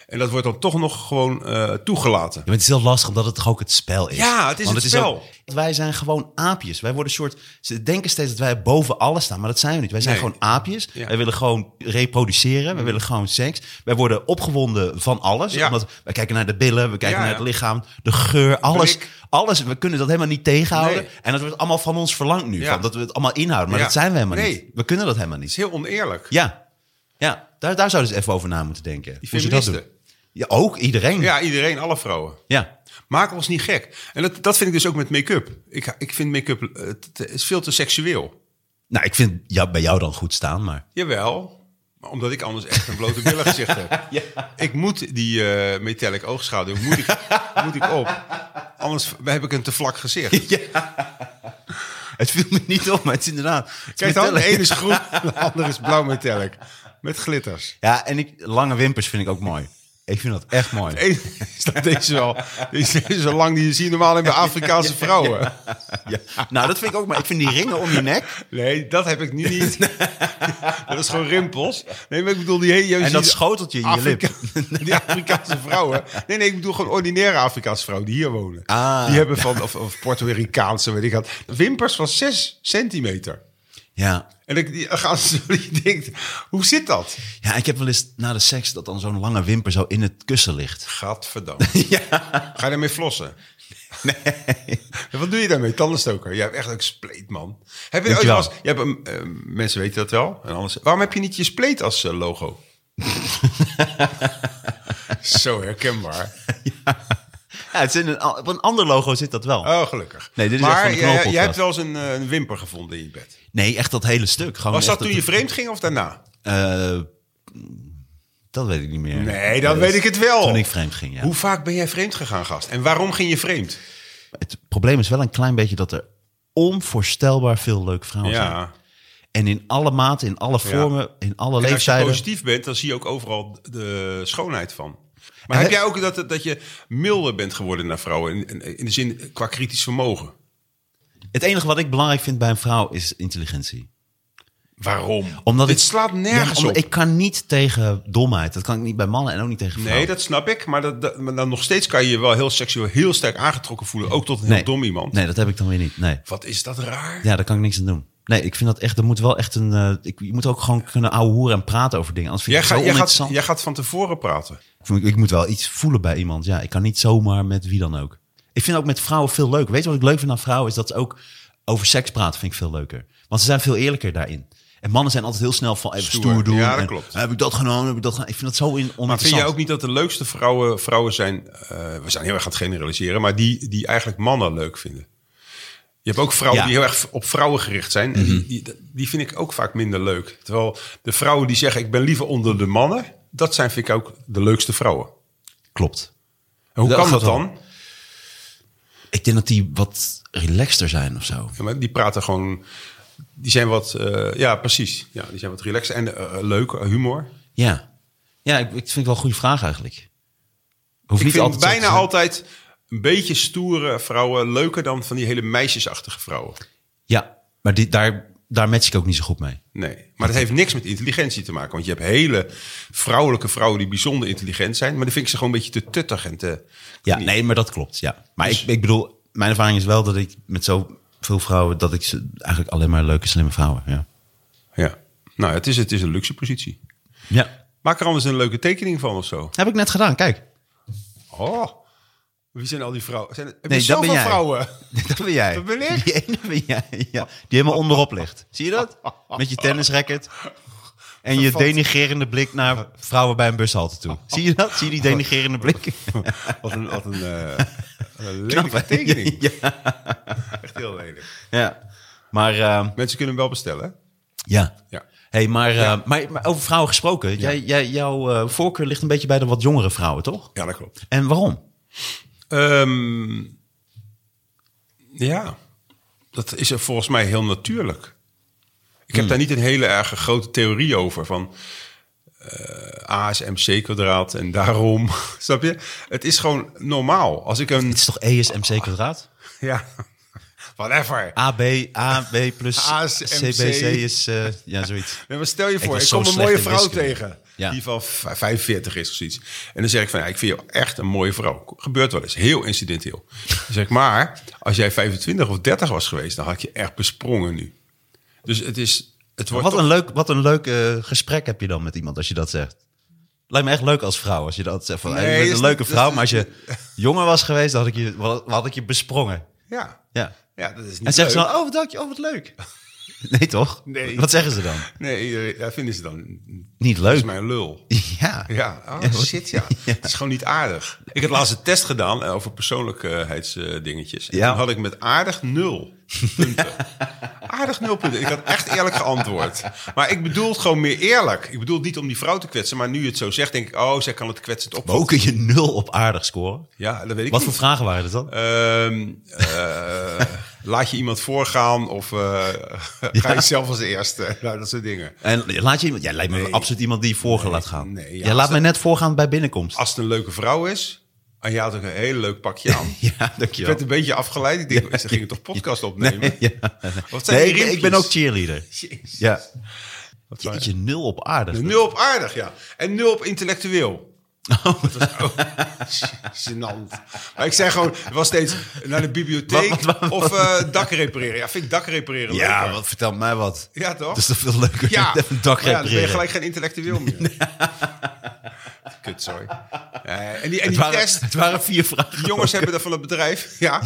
Speaker 3: En dat wordt dan toch nog gewoon eh, toegelaten.
Speaker 2: Ja, maar het is heel lastig omdat het toch ook het spel is.
Speaker 3: Ja, het is het spel.
Speaker 2: ook- wij zijn gewoon aapjes. Wij worden een soort. Ze denken steeds dat wij boven alles staan, maar dat zijn we niet. Wij zijn
Speaker 3: Nee.
Speaker 2: gewoon aapjes.
Speaker 3: Ja. Mm.
Speaker 2: Wij willen gewoon reproduceren. Wij willen gewoon seks. Wij worden opgewonden van alles.
Speaker 3: Ja.
Speaker 2: Omdat wij kijken naar de billen, we kijken
Speaker 3: Ja,
Speaker 2: naar
Speaker 3: ja.
Speaker 2: het lichaam, de geur, alles.
Speaker 3: Blik.
Speaker 2: Alles. We kunnen dat helemaal niet tegenhouden.
Speaker 3: Nee.
Speaker 2: En dat wordt allemaal van ons verlangd nu.
Speaker 3: Ja.
Speaker 2: Van, dat we het allemaal inhouden. Maar
Speaker 3: Ja.
Speaker 2: dat zijn we helemaal
Speaker 3: Nee.
Speaker 2: niet. We kunnen dat helemaal niet.
Speaker 3: Het is heel oneerlijk.
Speaker 2: Ja, ja. Daar, daar zouden ze even over na moeten denken.
Speaker 3: Die
Speaker 2: Hoe ze dat doen.
Speaker 3: feministen.
Speaker 2: Ja, ook iedereen.
Speaker 3: Ja, iedereen, alle vrouwen.
Speaker 2: ja.
Speaker 3: Maak ons niet gek. En dat, dat vind ik dus ook met make-up. Ik, ik vind make-up eh, het- het is veel te seksueel.
Speaker 2: Nou, ik vind jou, bij jou dan goed staan, maar... *laughs*
Speaker 3: Jawel, maar omdat ik anders echt een blote billen gezicht heb.
Speaker 2: *laughs*
Speaker 3: Ik moet die eh, metallic oogschaduw moet ik, moet ik op. Anders heb ik een te vlak gezicht.
Speaker 2: Het viel me niet op, maar het is inderdaad... het is
Speaker 3: Kijk dan, de
Speaker 2: metallic.
Speaker 3: ene is groen, de andere is blauw metallic. Met glitters.
Speaker 2: Ja, en ik, lange wimpers vind ik ook mooi. Ik vind dat echt mooi.
Speaker 3: De ene is dat deze wel. Deze is zo lang die je ziet normaal in bij Afrikaanse vrouwen.
Speaker 2: *laughs* Ja. Nou, dat vind ik ook maar. Ik vind die ringen om je nek.
Speaker 3: Nee, dat heb ik nu niet. Dat is gewoon rimpels. Nee, maar ik bedoel die hele...
Speaker 2: En dat schoteltje in je lip.
Speaker 3: *laughs* Die Afrikaanse vrouwen. Nee, nee, ik bedoel gewoon ordinaire Afrikaanse vrouwen die hier wonen.
Speaker 2: Ah.
Speaker 3: die hebben van, of, of Puerto-Ricaanse, weet ik wat. Wimpers van 6 centimeter.
Speaker 2: Ja.
Speaker 3: En ik die, gaan ze, die denkt, hoe zit dat?
Speaker 2: ja, ik heb wel eens na de seks dat dan zo'n lange wimper zo in het kussen ligt. *laughs*
Speaker 3: Gadverdamme. Ga je daarmee flossen? Nee. Wat doe je daarmee? Tandenstoker. Jij hebt echt ook spleet, man. Heb
Speaker 2: Dank
Speaker 3: je ooit
Speaker 2: je wel.
Speaker 3: wel eens- je hebt, een- eh, mensen weten dat wel. En anders, waarom heb je niet je spleet als
Speaker 2: *laughs*
Speaker 3: eh, logo? Zo herkenbaar.
Speaker 2: Ja, het is in een, op een ander logo zit dat wel.
Speaker 3: Oh, gelukkig.
Speaker 2: Nee, dit is echt
Speaker 3: maar
Speaker 2: van de
Speaker 3: jij- jij,
Speaker 2: knalpodcast.
Speaker 3: hebt wel eens een, eh, een wimper gevonden in je bed.
Speaker 2: Nee, echt dat hele stuk. Gewoon
Speaker 3: Was dat
Speaker 2: echt
Speaker 3: toen je vreemd ging of daarna?
Speaker 2: Eh, dat weet ik niet meer.
Speaker 3: Nee, dan weet ik het wel.
Speaker 2: Toen ik vreemd ging, ja.
Speaker 3: Hoe vaak ben jij vreemd gegaan, gast? En waarom ging je vreemd?
Speaker 2: Het probleem is wel een klein beetje dat er onvoorstelbaar veel leuke vrouwen zijn.
Speaker 3: Ja.
Speaker 2: En in alle maten, in alle vormen, in alle
Speaker 3: En als je
Speaker 2: leeftijden.
Speaker 3: positief bent, dan zie je ook overal de schoonheid van. Maar heb jij ook dat, dat je milder bent geworden naar vrouwen? In, in- in de zin eh, qua kritisch vermogen.
Speaker 2: Het enige wat ik belangrijk vind bij een vrouw is intelligentie.
Speaker 3: Waarom?
Speaker 2: Omdat
Speaker 3: Dit
Speaker 2: ik-
Speaker 3: slaat
Speaker 2: Ja,
Speaker 3: nergens
Speaker 2: omdat
Speaker 3: op.
Speaker 2: Ik kan niet tegen domheid. Dat kan ik niet bij mannen en ook niet tegen vrouwen.
Speaker 3: Nee, dat snap ik. Maar, dat, dat- maar dan nog steeds kan je je wel heel seksueel heel sterk aangetrokken voelen. Ook tot een heel dom iemand.
Speaker 2: Nee, dat heb ik dan weer niet. Nee.
Speaker 3: Wat is dat raar?
Speaker 2: Ja, daar kan ik niks aan doen. Nee, ik vind dat echt, er moet wel echt een... eh, ik, je moet ook gewoon kunnen ouwehoeren en praten over dingen. Anders vind
Speaker 3: Jij,
Speaker 2: ik het zo
Speaker 3: gaat, jij, gaat,
Speaker 2: oninteressant.
Speaker 3: jij gaat van tevoren praten.
Speaker 2: Ik vind- Ik moet wel iets voelen bij iemand. Ja, ik kan niet zomaar met wie dan ook. Ik vind ook met vrouwen veel leuk. Weet je wat ik leuk vind aan vrouwen? Is dat ze ook over seks praten vind ik veel leuker. Want ze zijn veel eerlijker daarin. En mannen zijn altijd heel snel van even stoer,
Speaker 3: Stoer.
Speaker 2: doen.
Speaker 3: Ja, dat
Speaker 2: en,
Speaker 3: klopt.
Speaker 2: Heb ik dat genomen? Heb ik dat gedaan?" Ik vind dat zo in,
Speaker 3: Maar vind
Speaker 2: oninteressant.
Speaker 3: jij ook niet dat de leukste vrouwen, vrouwen zijn... eh, we zijn heel erg aan het generaliseren, maar die, die eigenlijk mannen leuk vinden. Je hebt ook vrouwen
Speaker 2: Ja.
Speaker 3: die heel erg op vrouwen gericht zijn. En die, die, die vind ik ook vaak minder leuk. Terwijl de vrouwen die zeggen, ik ben liever onder de mannen... dat zijn, vind ik, ook de leukste vrouwen.
Speaker 2: Klopt.
Speaker 3: En hoe
Speaker 2: Dat
Speaker 3: kan
Speaker 2: gaat
Speaker 3: dat dan?
Speaker 2: Ik denk dat die wat relaxter zijn of zo.
Speaker 3: Ja, maar die praten gewoon... Die zijn wat... eh, ja, precies. Ja, die zijn wat relaxed en eh, leuk, eh, humor.
Speaker 2: Ja. Ja, ik, ik vind het wel een goede vraag eigenlijk. Hoeft
Speaker 3: Ik
Speaker 2: niet
Speaker 3: vind
Speaker 2: altijd zo te
Speaker 3: bijna
Speaker 2: zijn.
Speaker 3: altijd een beetje stoere vrouwen... leuker dan van die hele meisjesachtige vrouwen.
Speaker 2: Ja, maar die, daar, daar match ik ook niet zo goed mee.
Speaker 3: Nee, maar dat heeft niks met intelligentie te maken. Want je hebt hele vrouwelijke vrouwen die bijzonder intelligent zijn. Maar dan vind ik ze gewoon een beetje te tuttig en te...
Speaker 2: Ja, nee, maar dat klopt. Ja. Maar
Speaker 3: Dus-
Speaker 2: ik, ik bedoel, mijn ervaring is wel dat ik met zoveel vrouwen... dat ik ze eigenlijk alleen maar leuke, slimme vrouwen. Ja.
Speaker 3: Ja. Nou, het is, het is een luxe positie.
Speaker 2: ja.
Speaker 3: Maak er anders een leuke tekening van of zo.
Speaker 2: Heb ik net gedaan, kijk.
Speaker 3: Oh, wie zijn al die vrouwen? Zijn, er- heb
Speaker 2: Nee,
Speaker 3: je
Speaker 2: dat ben
Speaker 3: zoveel
Speaker 2: jij.
Speaker 3: vrouwen?
Speaker 2: Dat ben jij.
Speaker 3: *laughs* Dat ben ik.
Speaker 2: Die ene ben jij, ja. Die helemaal onderop ligt. Zie je
Speaker 3: *laughs*
Speaker 2: dat? Met je tennisracket. En je denigerende blik naar vrouwen bij een bushalte toe.
Speaker 3: *laughs*
Speaker 2: Zie je dat? Zie je die denigerende blik?
Speaker 3: Wat *laughs* een,
Speaker 2: *laughs*
Speaker 3: wat een, eh, *laughs* een lelijke tekening. Echt heel lelijk.
Speaker 2: Ja. Maar... ehm,
Speaker 3: Mensen kunnen hem wel bestellen. hè?
Speaker 2: Ja.
Speaker 3: Ja.
Speaker 2: Hey, maar, eh, maar, maar over vrouwen gesproken. Jij, jij, jouw eh, voorkeur ligt een beetje bij de wat jongere vrouwen, toch?
Speaker 3: Ja, dat klopt.
Speaker 2: En waarom?
Speaker 3: Ehm, ja, dat is er volgens mij heel natuurlijk. Ik heb daar niet een hele erg grote theorie over. Van eh A is MC kwadraat en daarom. *laughs* Snap je? Het is gewoon normaal. Als ik een.
Speaker 2: Het is toch E is MC kwadraat?
Speaker 3: Ja, *laughs* whatever.
Speaker 2: AB, AB plus
Speaker 3: *laughs* A is
Speaker 2: CBC is... eh, ja,
Speaker 3: *laughs*
Speaker 2: zoiets.
Speaker 3: Nee, maar stel je voor,
Speaker 2: was
Speaker 3: ik
Speaker 2: zo
Speaker 3: kom een
Speaker 2: slecht
Speaker 3: mooie
Speaker 2: in
Speaker 3: vrouw
Speaker 2: wiskunde.
Speaker 3: tegen.
Speaker 2: Ja.
Speaker 3: Die van v- 45 is of zoiets. En dan zeg ik van, ja, ik vind je echt een mooie vrouw. Gebeurt wel eens, heel incidenteel. Dan zeg ik, maar als jij 25 of 30 was geweest, dan had ik je echt besprongen nu. Dus het is... Het wordt
Speaker 2: Wat
Speaker 3: toch-
Speaker 2: een leuk, wat een leuk eh, gesprek heb je dan met iemand als je dat zegt. Lijkt me echt leuk als vrouw als je dat zegt. Van, hey,
Speaker 3: Nee,
Speaker 2: je bent
Speaker 3: is
Speaker 2: een leuke
Speaker 3: niet-
Speaker 2: vrouw, maar als je
Speaker 3: *laughs*
Speaker 2: jonger was geweest, dan had ik je, wel- had ik je besprongen.
Speaker 3: Ja.
Speaker 2: Ja.
Speaker 3: ja, dat is niet
Speaker 2: En zeggen ze
Speaker 3: leuk.
Speaker 2: dan, oh wat dank je, oh wat leuk. *laughs* Nee toch?
Speaker 3: Nee.
Speaker 2: Wat zeggen ze dan?
Speaker 3: Nee, eh, dat vinden ze dan...
Speaker 2: Niet
Speaker 3: Dat is
Speaker 2: leuk.
Speaker 3: mijn lul.
Speaker 2: *laughs* Ja.
Speaker 3: Ja, oh, shit, *laughs* ja. Het is gewoon niet aardig. Ik had laatst een test gedaan eh, over persoonlijkheidsdingetjes. En
Speaker 2: Ja.
Speaker 3: toen had ik met aardig nul punten. *laughs* Aardig nul punten. Ik had echt eerlijk geantwoord. Maar ik bedoel het gewoon meer eerlijk. Ik bedoel het niet om die vrouw te kwetsen, maar nu je het zo zegt, denk ik... oh, zij kan het kwetsend
Speaker 2: Maar hoe
Speaker 3: opvatten.
Speaker 2: kun je nul op aardig scoren?
Speaker 3: Ja, dat weet ik
Speaker 2: Wat
Speaker 3: niet.
Speaker 2: voor vragen waren dat dan?
Speaker 3: Ehm, eh, *laughs* laat je iemand voorgaan of eh, *laughs* ga je zelf als eerste? Nou, dat soort dingen.
Speaker 2: En laat je iemand, jij lijkt me absoluut iemand die je voor laat gaan.
Speaker 3: nee, ja,
Speaker 2: jij
Speaker 3: als
Speaker 2: laat
Speaker 3: dat-
Speaker 2: mij net voorgaan bij binnenkomst.
Speaker 3: Als het een leuke vrouw is, en je had ook een heel leuk pakje
Speaker 2: *laughs*
Speaker 3: aan.
Speaker 2: ja,
Speaker 3: Ik
Speaker 2: dankjewel.
Speaker 3: werd een beetje afgeleid.
Speaker 2: *laughs*
Speaker 3: Ik denk, ze gingen toch podcast opnemen?
Speaker 2: ja.
Speaker 3: Wat zijn
Speaker 2: Nee,
Speaker 3: die
Speaker 2: ik, ik ben ook
Speaker 3: riempjes?
Speaker 2: cheerleader.
Speaker 3: Jezus.
Speaker 2: Ja.
Speaker 3: Wat zijn-
Speaker 2: Jeetje, nul op aardig.
Speaker 3: Nul op aardig, ja. En nul op intellectueel.
Speaker 2: Oh.
Speaker 3: Dat was ook gênant. Maar ik zei gewoon, het was steeds naar de bibliotheek
Speaker 2: Wat- wat- wat-
Speaker 3: of eh, dak repareren. Ja, vind ik dak repareren
Speaker 2: Ja,
Speaker 3: leuker.
Speaker 2: wat vertelt mij wat.
Speaker 3: Ja, toch?
Speaker 2: Dat is toch veel leuker *laughs*
Speaker 3: Ja,
Speaker 2: dan een
Speaker 3: maar
Speaker 2: dak
Speaker 3: ja, dan ben je
Speaker 2: repareren.
Speaker 3: gelijk geen intellectueel meer.
Speaker 2: *laughs*
Speaker 3: Kut, sorry. Eh, en die, en
Speaker 2: het,
Speaker 3: die
Speaker 2: waren,
Speaker 3: test,
Speaker 2: het waren vier vragen.
Speaker 3: die jongens hebben dat van het bedrijf, *laughs* ja,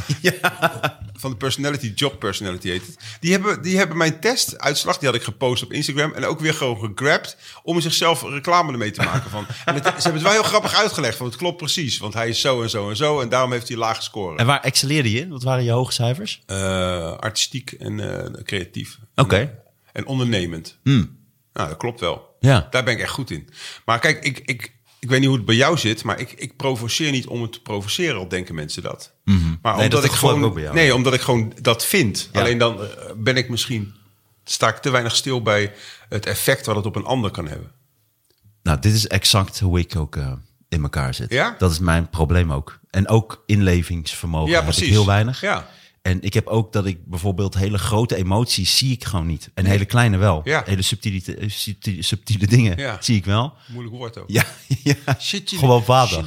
Speaker 3: van de personality, job personality heet het. Die hebben, die hebben mijn testuitslag, die had ik gepost op Instagram en ook weer gewoon gegrabt om er zichzelf reclame ermee te maken. Van. En het- ze hebben het wel heel grappig uitgelegd, want het klopt precies, want hij is zo en zo en zo en daarom heeft hij laag scoren.
Speaker 2: En waar excelleerde je in? Wat waren je hoge cijfers?
Speaker 3: Eh, artistiek en eh, creatief.
Speaker 2: Oké. Hmm.
Speaker 3: En ondernemend. Nou, dat klopt wel.
Speaker 2: Ja.
Speaker 3: Daar ben ik echt goed in. Maar kijk, ik, ik, ik weet niet hoe het bij jou zit, maar ik, ik provoceer niet om het te provoceren, al denken mensen dat. Maar
Speaker 2: Mhm. Nee, dat
Speaker 3: omdat ik
Speaker 2: geloof ik
Speaker 3: gewoon,
Speaker 2: ook bij jou.
Speaker 3: nee, omdat ik gewoon dat vind.
Speaker 2: Ja.
Speaker 3: Alleen dan eh, ben ik misschien, sta ik te weinig stil bij het effect wat het op een ander kan hebben.
Speaker 2: Nou, dit is exact hoe ik ook eh, in elkaar zit.
Speaker 3: Ja?
Speaker 2: Dat is mijn probleem ook. En ook inlevingsvermogen
Speaker 3: Ja,
Speaker 2: heb ik
Speaker 3: precies.
Speaker 2: heel weinig.
Speaker 3: Ja.
Speaker 2: En ik heb ook dat ik bijvoorbeeld hele grote emoties zie ik gewoon niet. En hele kleine wel.
Speaker 3: Ja.
Speaker 2: Hele subtiele, eh, subtiele, subtiele dingen
Speaker 3: Ja.
Speaker 2: zie ik wel. *laughs*
Speaker 3: Moeilijk woord ook.
Speaker 2: Ja, ja.
Speaker 3: Shit,
Speaker 2: gewoon vader.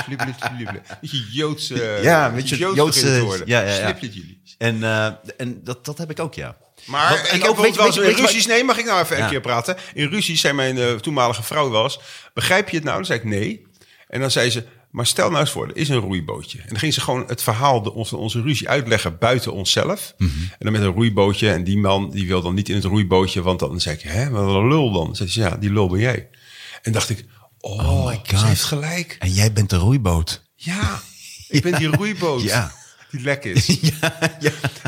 Speaker 3: Beetje Joodse.
Speaker 2: Ja, een beetje
Speaker 3: Joods
Speaker 2: Joodse-
Speaker 3: begint Eh, te worden.
Speaker 2: ja, ja, ja.
Speaker 3: Snipplet jullie.
Speaker 2: En, eh, en dat, dat heb ik ook, ja.
Speaker 3: Maar
Speaker 2: Wat-
Speaker 3: ik heb bijvoorbeeld wel eens in
Speaker 2: wat-
Speaker 3: ruzies... Nee, mag ik nou even
Speaker 2: Ja.
Speaker 3: een keer praten? In ruzies zei mijn eh, toenmalige vrouw wel eens... Begrijp je het nou? Dan zei ik nee. En dan zei ze... Maar stel nou eens voor, er is een roeibootje. En dan ging ze gewoon het verhaal, de, onze, onze ruzie uitleggen buiten onszelf. En dan met een roeibootje. En die man die wil dan niet in het roeibootje. Want dan zei ik, hè, wat een lul dan. Zei ze, ja, die lul ben jij. En dacht ik, oh,
Speaker 2: my
Speaker 3: my
Speaker 2: God.
Speaker 3: god. ze heeft gelijk.
Speaker 2: En jij bent de roeiboot.
Speaker 3: Ja, ik ben die roeiboot.
Speaker 2: Ja.
Speaker 3: Die
Speaker 2: *laughs*
Speaker 3: lek is.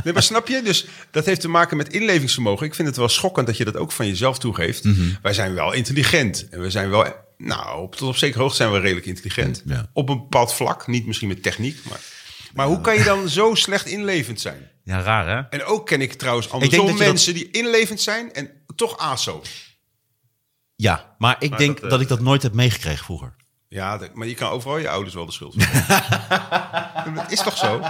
Speaker 3: Nee, maar snap je? Dus dat heeft te maken met inlevingsvermogen. Ik vind het wel schokkend dat je dat ook van jezelf toegeeft.
Speaker 2: Mhm.
Speaker 3: Wij zijn wel intelligent. En we zijn wel... Nou, op, tot op zekere hoogte zijn we redelijk intelligent.
Speaker 2: Ja.
Speaker 3: Op een bepaald vlak. Niet misschien met techniek, maar... Maar hoe kan je dan zo slecht inlevend zijn?
Speaker 2: Ja, raar hè?
Speaker 3: En ook ken ik trouwens
Speaker 2: denk
Speaker 3: andersom
Speaker 2: dat je dat-
Speaker 3: mensen die inlevend zijn en toch ASO.
Speaker 2: Ja, maar ik denk dat,
Speaker 3: dat, eh,
Speaker 2: ik dat nooit heb meegekregen vroeger.
Speaker 3: Ja, dat- maar je kan overal je ouders wel
Speaker 2: *laughs*
Speaker 3: de schuld van geven. Dat is toch zo?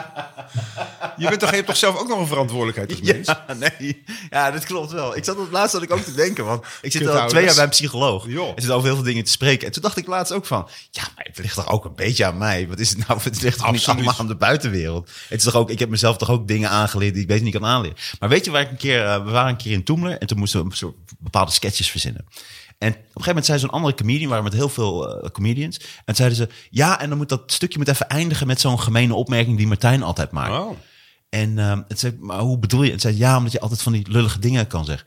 Speaker 3: Je, bent toch, je hebt toch zelf ook nog een verantwoordelijkheid als mens?
Speaker 2: *laughs* nee. Ja, dat klopt wel. Ik zat op het laatst dat ik ook te denken, want ik zit al
Speaker 3: Kutouders.
Speaker 2: twee jaar bij een psycholoog.
Speaker 3: Joh.
Speaker 2: En zit over heel veel dingen te spreken. En toen dacht ik laatst ook van, ja, maar het ligt toch ook een beetje aan mij. Wat is het nou? *laughs* Het ligt toch niet
Speaker 3: Absoluut.
Speaker 2: allemaal aan de buitenwereld. Het is toch ook, ik heb mezelf toch ook dingen aangeleerd die ik beter niet kan aanleren. Maar weet je waar ik een keer, eh, we waren een keer in Toemler en toen moesten we een soort bepaalde sketches verzinnen. En op een gegeven moment zei zo'n andere comedian, waren met heel veel eh, comedians. En zeiden ze, ja, en dan moet dat stukje moet even eindigen met zo'n gemene opmerking die Martijn altijd maakt.
Speaker 3: Oh.
Speaker 2: En ehm, het zei, maar hoe bedoel je? Het zei, ja, omdat je altijd van die lullige dingen kan zeggen.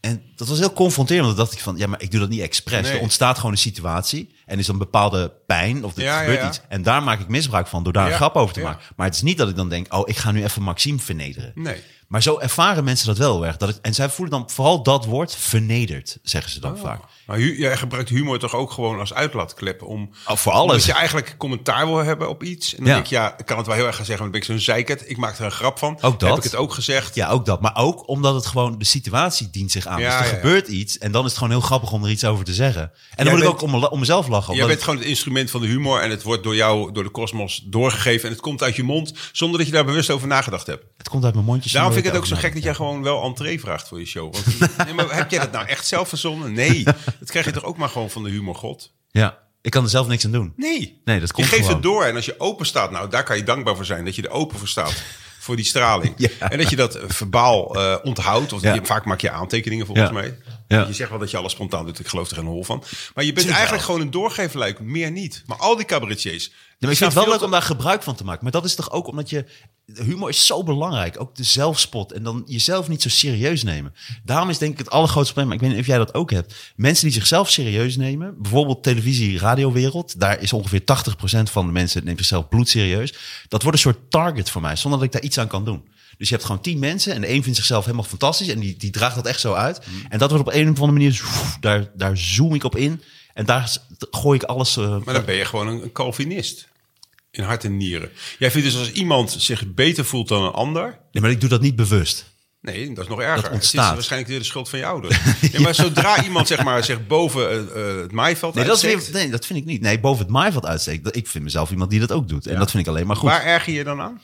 Speaker 2: En dat was heel confronterend. Want dan dacht ik van, ja, maar ik doe dat niet expres.
Speaker 3: Nee.
Speaker 2: Er ontstaat gewoon een situatie. En is dan bepaalde pijn of er
Speaker 3: Ja,
Speaker 2: gebeurt
Speaker 3: ja, ja.
Speaker 2: iets. En daar maak ik misbruik van door daar een
Speaker 3: Ja,
Speaker 2: grap over te
Speaker 3: ja.
Speaker 2: maken. Maar het is niet dat ik dan denk, oh, ik ga nu even Maxime vernederen.
Speaker 3: Nee.
Speaker 2: Maar zo ervaren mensen dat wel heel erg. Dat het, en zij voelen dan vooral dat woord vernederd, zeggen ze dan
Speaker 3: Oh.
Speaker 2: vaak.
Speaker 3: Maar hu- jij gebruikt humor toch ook gewoon als uitlaatklep om...
Speaker 2: Oh, voor alles.
Speaker 3: Omdat je eigenlijk commentaar wil hebben op iets. En dan
Speaker 2: Ja.
Speaker 3: denk ik, ja, ik kan het wel heel erg gaan zeggen, want dan ben ik zo'n zeikert. Ik maak er een grap van.
Speaker 2: Ook dat.
Speaker 3: Heb ik het ook gezegd.
Speaker 2: Ja, ook dat. Maar ook omdat het gewoon de situatie dient zich aan.
Speaker 3: Ja,
Speaker 2: dus er
Speaker 3: ja, ja.
Speaker 2: gebeurt iets en dan is het gewoon heel grappig om er iets over te zeggen. En dan
Speaker 3: Jij
Speaker 2: moet ik ook
Speaker 3: bent-
Speaker 2: om, om mezelf lachen.
Speaker 3: Jij
Speaker 2: omdat
Speaker 3: bent gewoon het instrument van de humor en het wordt door jou, door de kosmos doorgegeven. En het komt uit je mond zonder dat je daar bewust over nagedacht hebt.
Speaker 2: Het komt uit mijn mondje. zonder
Speaker 3: Daarom vind ik het ook zo
Speaker 2: erover
Speaker 3: gek dat jij gewoon wel entree vraagt voor je show. Want, *laughs* nee, maar heb jij dat nou echt zelf verzonnen?
Speaker 2: *laughs*
Speaker 3: Nee, dat krijg je toch ook maar gewoon van de humorgod?
Speaker 2: nadenk. Ja, ik kan er zelf niks aan doen.
Speaker 3: Nee.
Speaker 2: Nee, dat komt
Speaker 3: Je geeft
Speaker 2: gewoon.
Speaker 3: het door en als je open staat, nou daar kan je dankbaar voor zijn. Dat je er open voor staat voor die straling.
Speaker 2: *laughs* Ja.
Speaker 3: En dat je dat eh, verbaal eh, onthoudt. Of
Speaker 2: Ja.
Speaker 3: je, vaak maak je aantekeningen volgens
Speaker 2: Ja.
Speaker 3: mij.
Speaker 2: Ja.
Speaker 3: Je zegt wel dat je alles spontaan doet. Ik geloof er geen hol van. Maar je bent
Speaker 2: wel.
Speaker 3: eigenlijk gewoon een doorgeeflijk. Meer niet. Maar al die cabaretiers.
Speaker 2: Ja, maar
Speaker 3: die
Speaker 2: ik vind
Speaker 3: staan
Speaker 2: het wel
Speaker 3: veel
Speaker 2: leuk
Speaker 3: te-
Speaker 2: om daar gebruik van te maken. Maar dat is toch ook omdat je... Humor is zo belangrijk. Ook de zelfspot. En dan jezelf niet zo serieus nemen. Daarom is denk ik het allergrootste probleem. Maar ik weet niet of jij dat ook hebt. Mensen die zichzelf serieus nemen. Bijvoorbeeld televisie, radiowereld. Daar is ongeveer 80% van de mensen... neemt zichzelf bloedserieus. Dat wordt een soort target voor mij. Zonder dat ik daar iets aan kan doen. Dus je hebt gewoon tien mensen. En de een vindt zichzelf helemaal fantastisch. En die, die draagt dat echt zo uit. En dat wordt op een of andere manier... zoef, Daar, daar zoom ik op in. En daar s- gooi ik alles... eh,
Speaker 3: Maar dan ben je gewoon een, een Calvinist. In hart en nieren. Jij vindt dus als iemand zich beter voelt dan een ander...
Speaker 2: Nee, maar ik doe dat niet bewust.
Speaker 3: Nee, dat is nog erger.
Speaker 2: Dat
Speaker 3: Het
Speaker 2: ontstaat.
Speaker 3: is waarschijnlijk weer de schuld van je
Speaker 2: *laughs*
Speaker 3: ouders. Nee, maar zodra iemand zeg maar, zich boven eh, eh, het maaiveld
Speaker 2: Nee dat, is
Speaker 3: uitsteekt,
Speaker 2: weer, nee, dat vind ik niet. Nee, boven het maaiveld uitsteken. dat- Ik vind mezelf iemand die dat ook doet. En dat vind ik alleen maar goed.
Speaker 3: waar erger je je dan aan?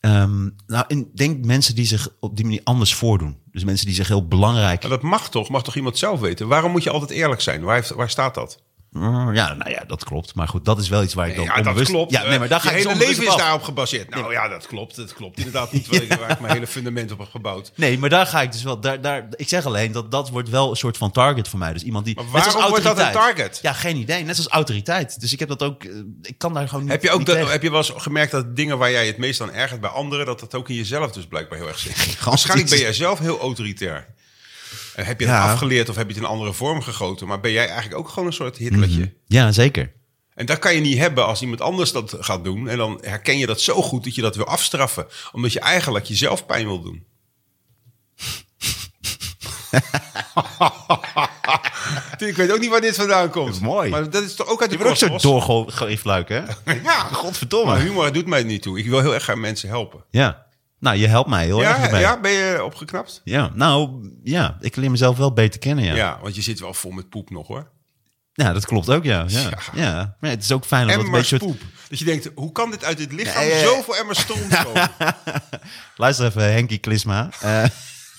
Speaker 2: Ehm, nou, ik denk mensen die zich op die manier anders voordoen. Dus mensen die zich heel belangrijk...
Speaker 3: Maar dat mag toch? Mag toch iemand zelf weten? Waarom moet je altijd eerlijk zijn? Waar, heeft, waar staat dat?
Speaker 2: Mm, Ja, nou ja, dat klopt. Maar goed, dat is wel iets waar ik dan
Speaker 3: Ja, dat
Speaker 2: onbewust...
Speaker 3: klopt.
Speaker 2: Ja, nee, maar daar
Speaker 3: Je
Speaker 2: ga ik dus
Speaker 3: hele leven
Speaker 2: onbewust
Speaker 3: is
Speaker 2: op af.
Speaker 3: daarop gebaseerd. Nou ja, dat klopt. Dat klopt inderdaad
Speaker 2: *laughs*
Speaker 3: niet waar, ik- waar ik mijn hele fundament op heb gebouwd.
Speaker 2: Nee, maar daar ga ik dus wel. Daar, daar, ik zeg alleen dat dat wordt wel een soort van target voor mij. Dus iemand die.
Speaker 3: Maar
Speaker 2: net als
Speaker 3: waarom wordt dat een
Speaker 2: autoriteit.
Speaker 3: target?
Speaker 2: Ja, geen idee. Net als autoriteit. Dus ik heb dat ook. eh, Ik kan daar gewoon niet.
Speaker 3: Heb je, ook
Speaker 2: niet
Speaker 3: dat-
Speaker 2: tegen.
Speaker 3: heb je wel eens gemerkt dat dingen waar jij het meest aan ergert bij anderen, dat dat ook in jezelf dus blijkbaar heel erg zit? Waarschijnlijk ben jij zelf heel autoritair. En heb je het
Speaker 2: Ja.
Speaker 3: afgeleerd of heb je het in een andere vorm gegoten? Maar ben jij eigenlijk ook gewoon een soort Hitlertje?
Speaker 2: Mhm. Ja, zeker.
Speaker 3: En dat kan je niet hebben als iemand anders dat gaat doen. En dan herken je dat zo goed dat je dat wil afstraffen. Omdat je eigenlijk jezelf pijn wil
Speaker 2: *laughs*
Speaker 3: doen. ik weet ook niet waar dit vandaan komt.
Speaker 2: is mooi.
Speaker 3: Maar dat is toch ook uit de
Speaker 2: Je wordt ook zo
Speaker 3: kosmos?
Speaker 2: doorgeefluik,
Speaker 3: *laughs*
Speaker 2: hè?
Speaker 3: Ja, Maar
Speaker 2: Godverdomme.
Speaker 3: humor doet mij niet toe. Ik wil heel erg graag mensen helpen.
Speaker 2: Ja. Nou, je helpt mij heel erg
Speaker 3: Ja,
Speaker 2: erbij.
Speaker 3: ja, ben je opgeknapt?
Speaker 2: Ja, nou, ja, ik leer mezelf wel beter kennen, ja.
Speaker 3: Ja.
Speaker 2: Ja,
Speaker 3: want je zit wel vol met poep nog hoor.
Speaker 2: dat klopt ook, ja. Ja,
Speaker 3: Ja.
Speaker 2: ja. Maar het is ook fijn om dat een
Speaker 3: Emmers
Speaker 2: beetje...
Speaker 3: poep. Dat je denkt, hoe kan dit uit dit lichaam
Speaker 2: Nee, eh, ja, ja.
Speaker 3: zoveel emmers
Speaker 2: *laughs*
Speaker 3: stroom komen?
Speaker 2: Luister even, Henkie
Speaker 3: *laughs*
Speaker 2: Klisma. Eh, *laughs*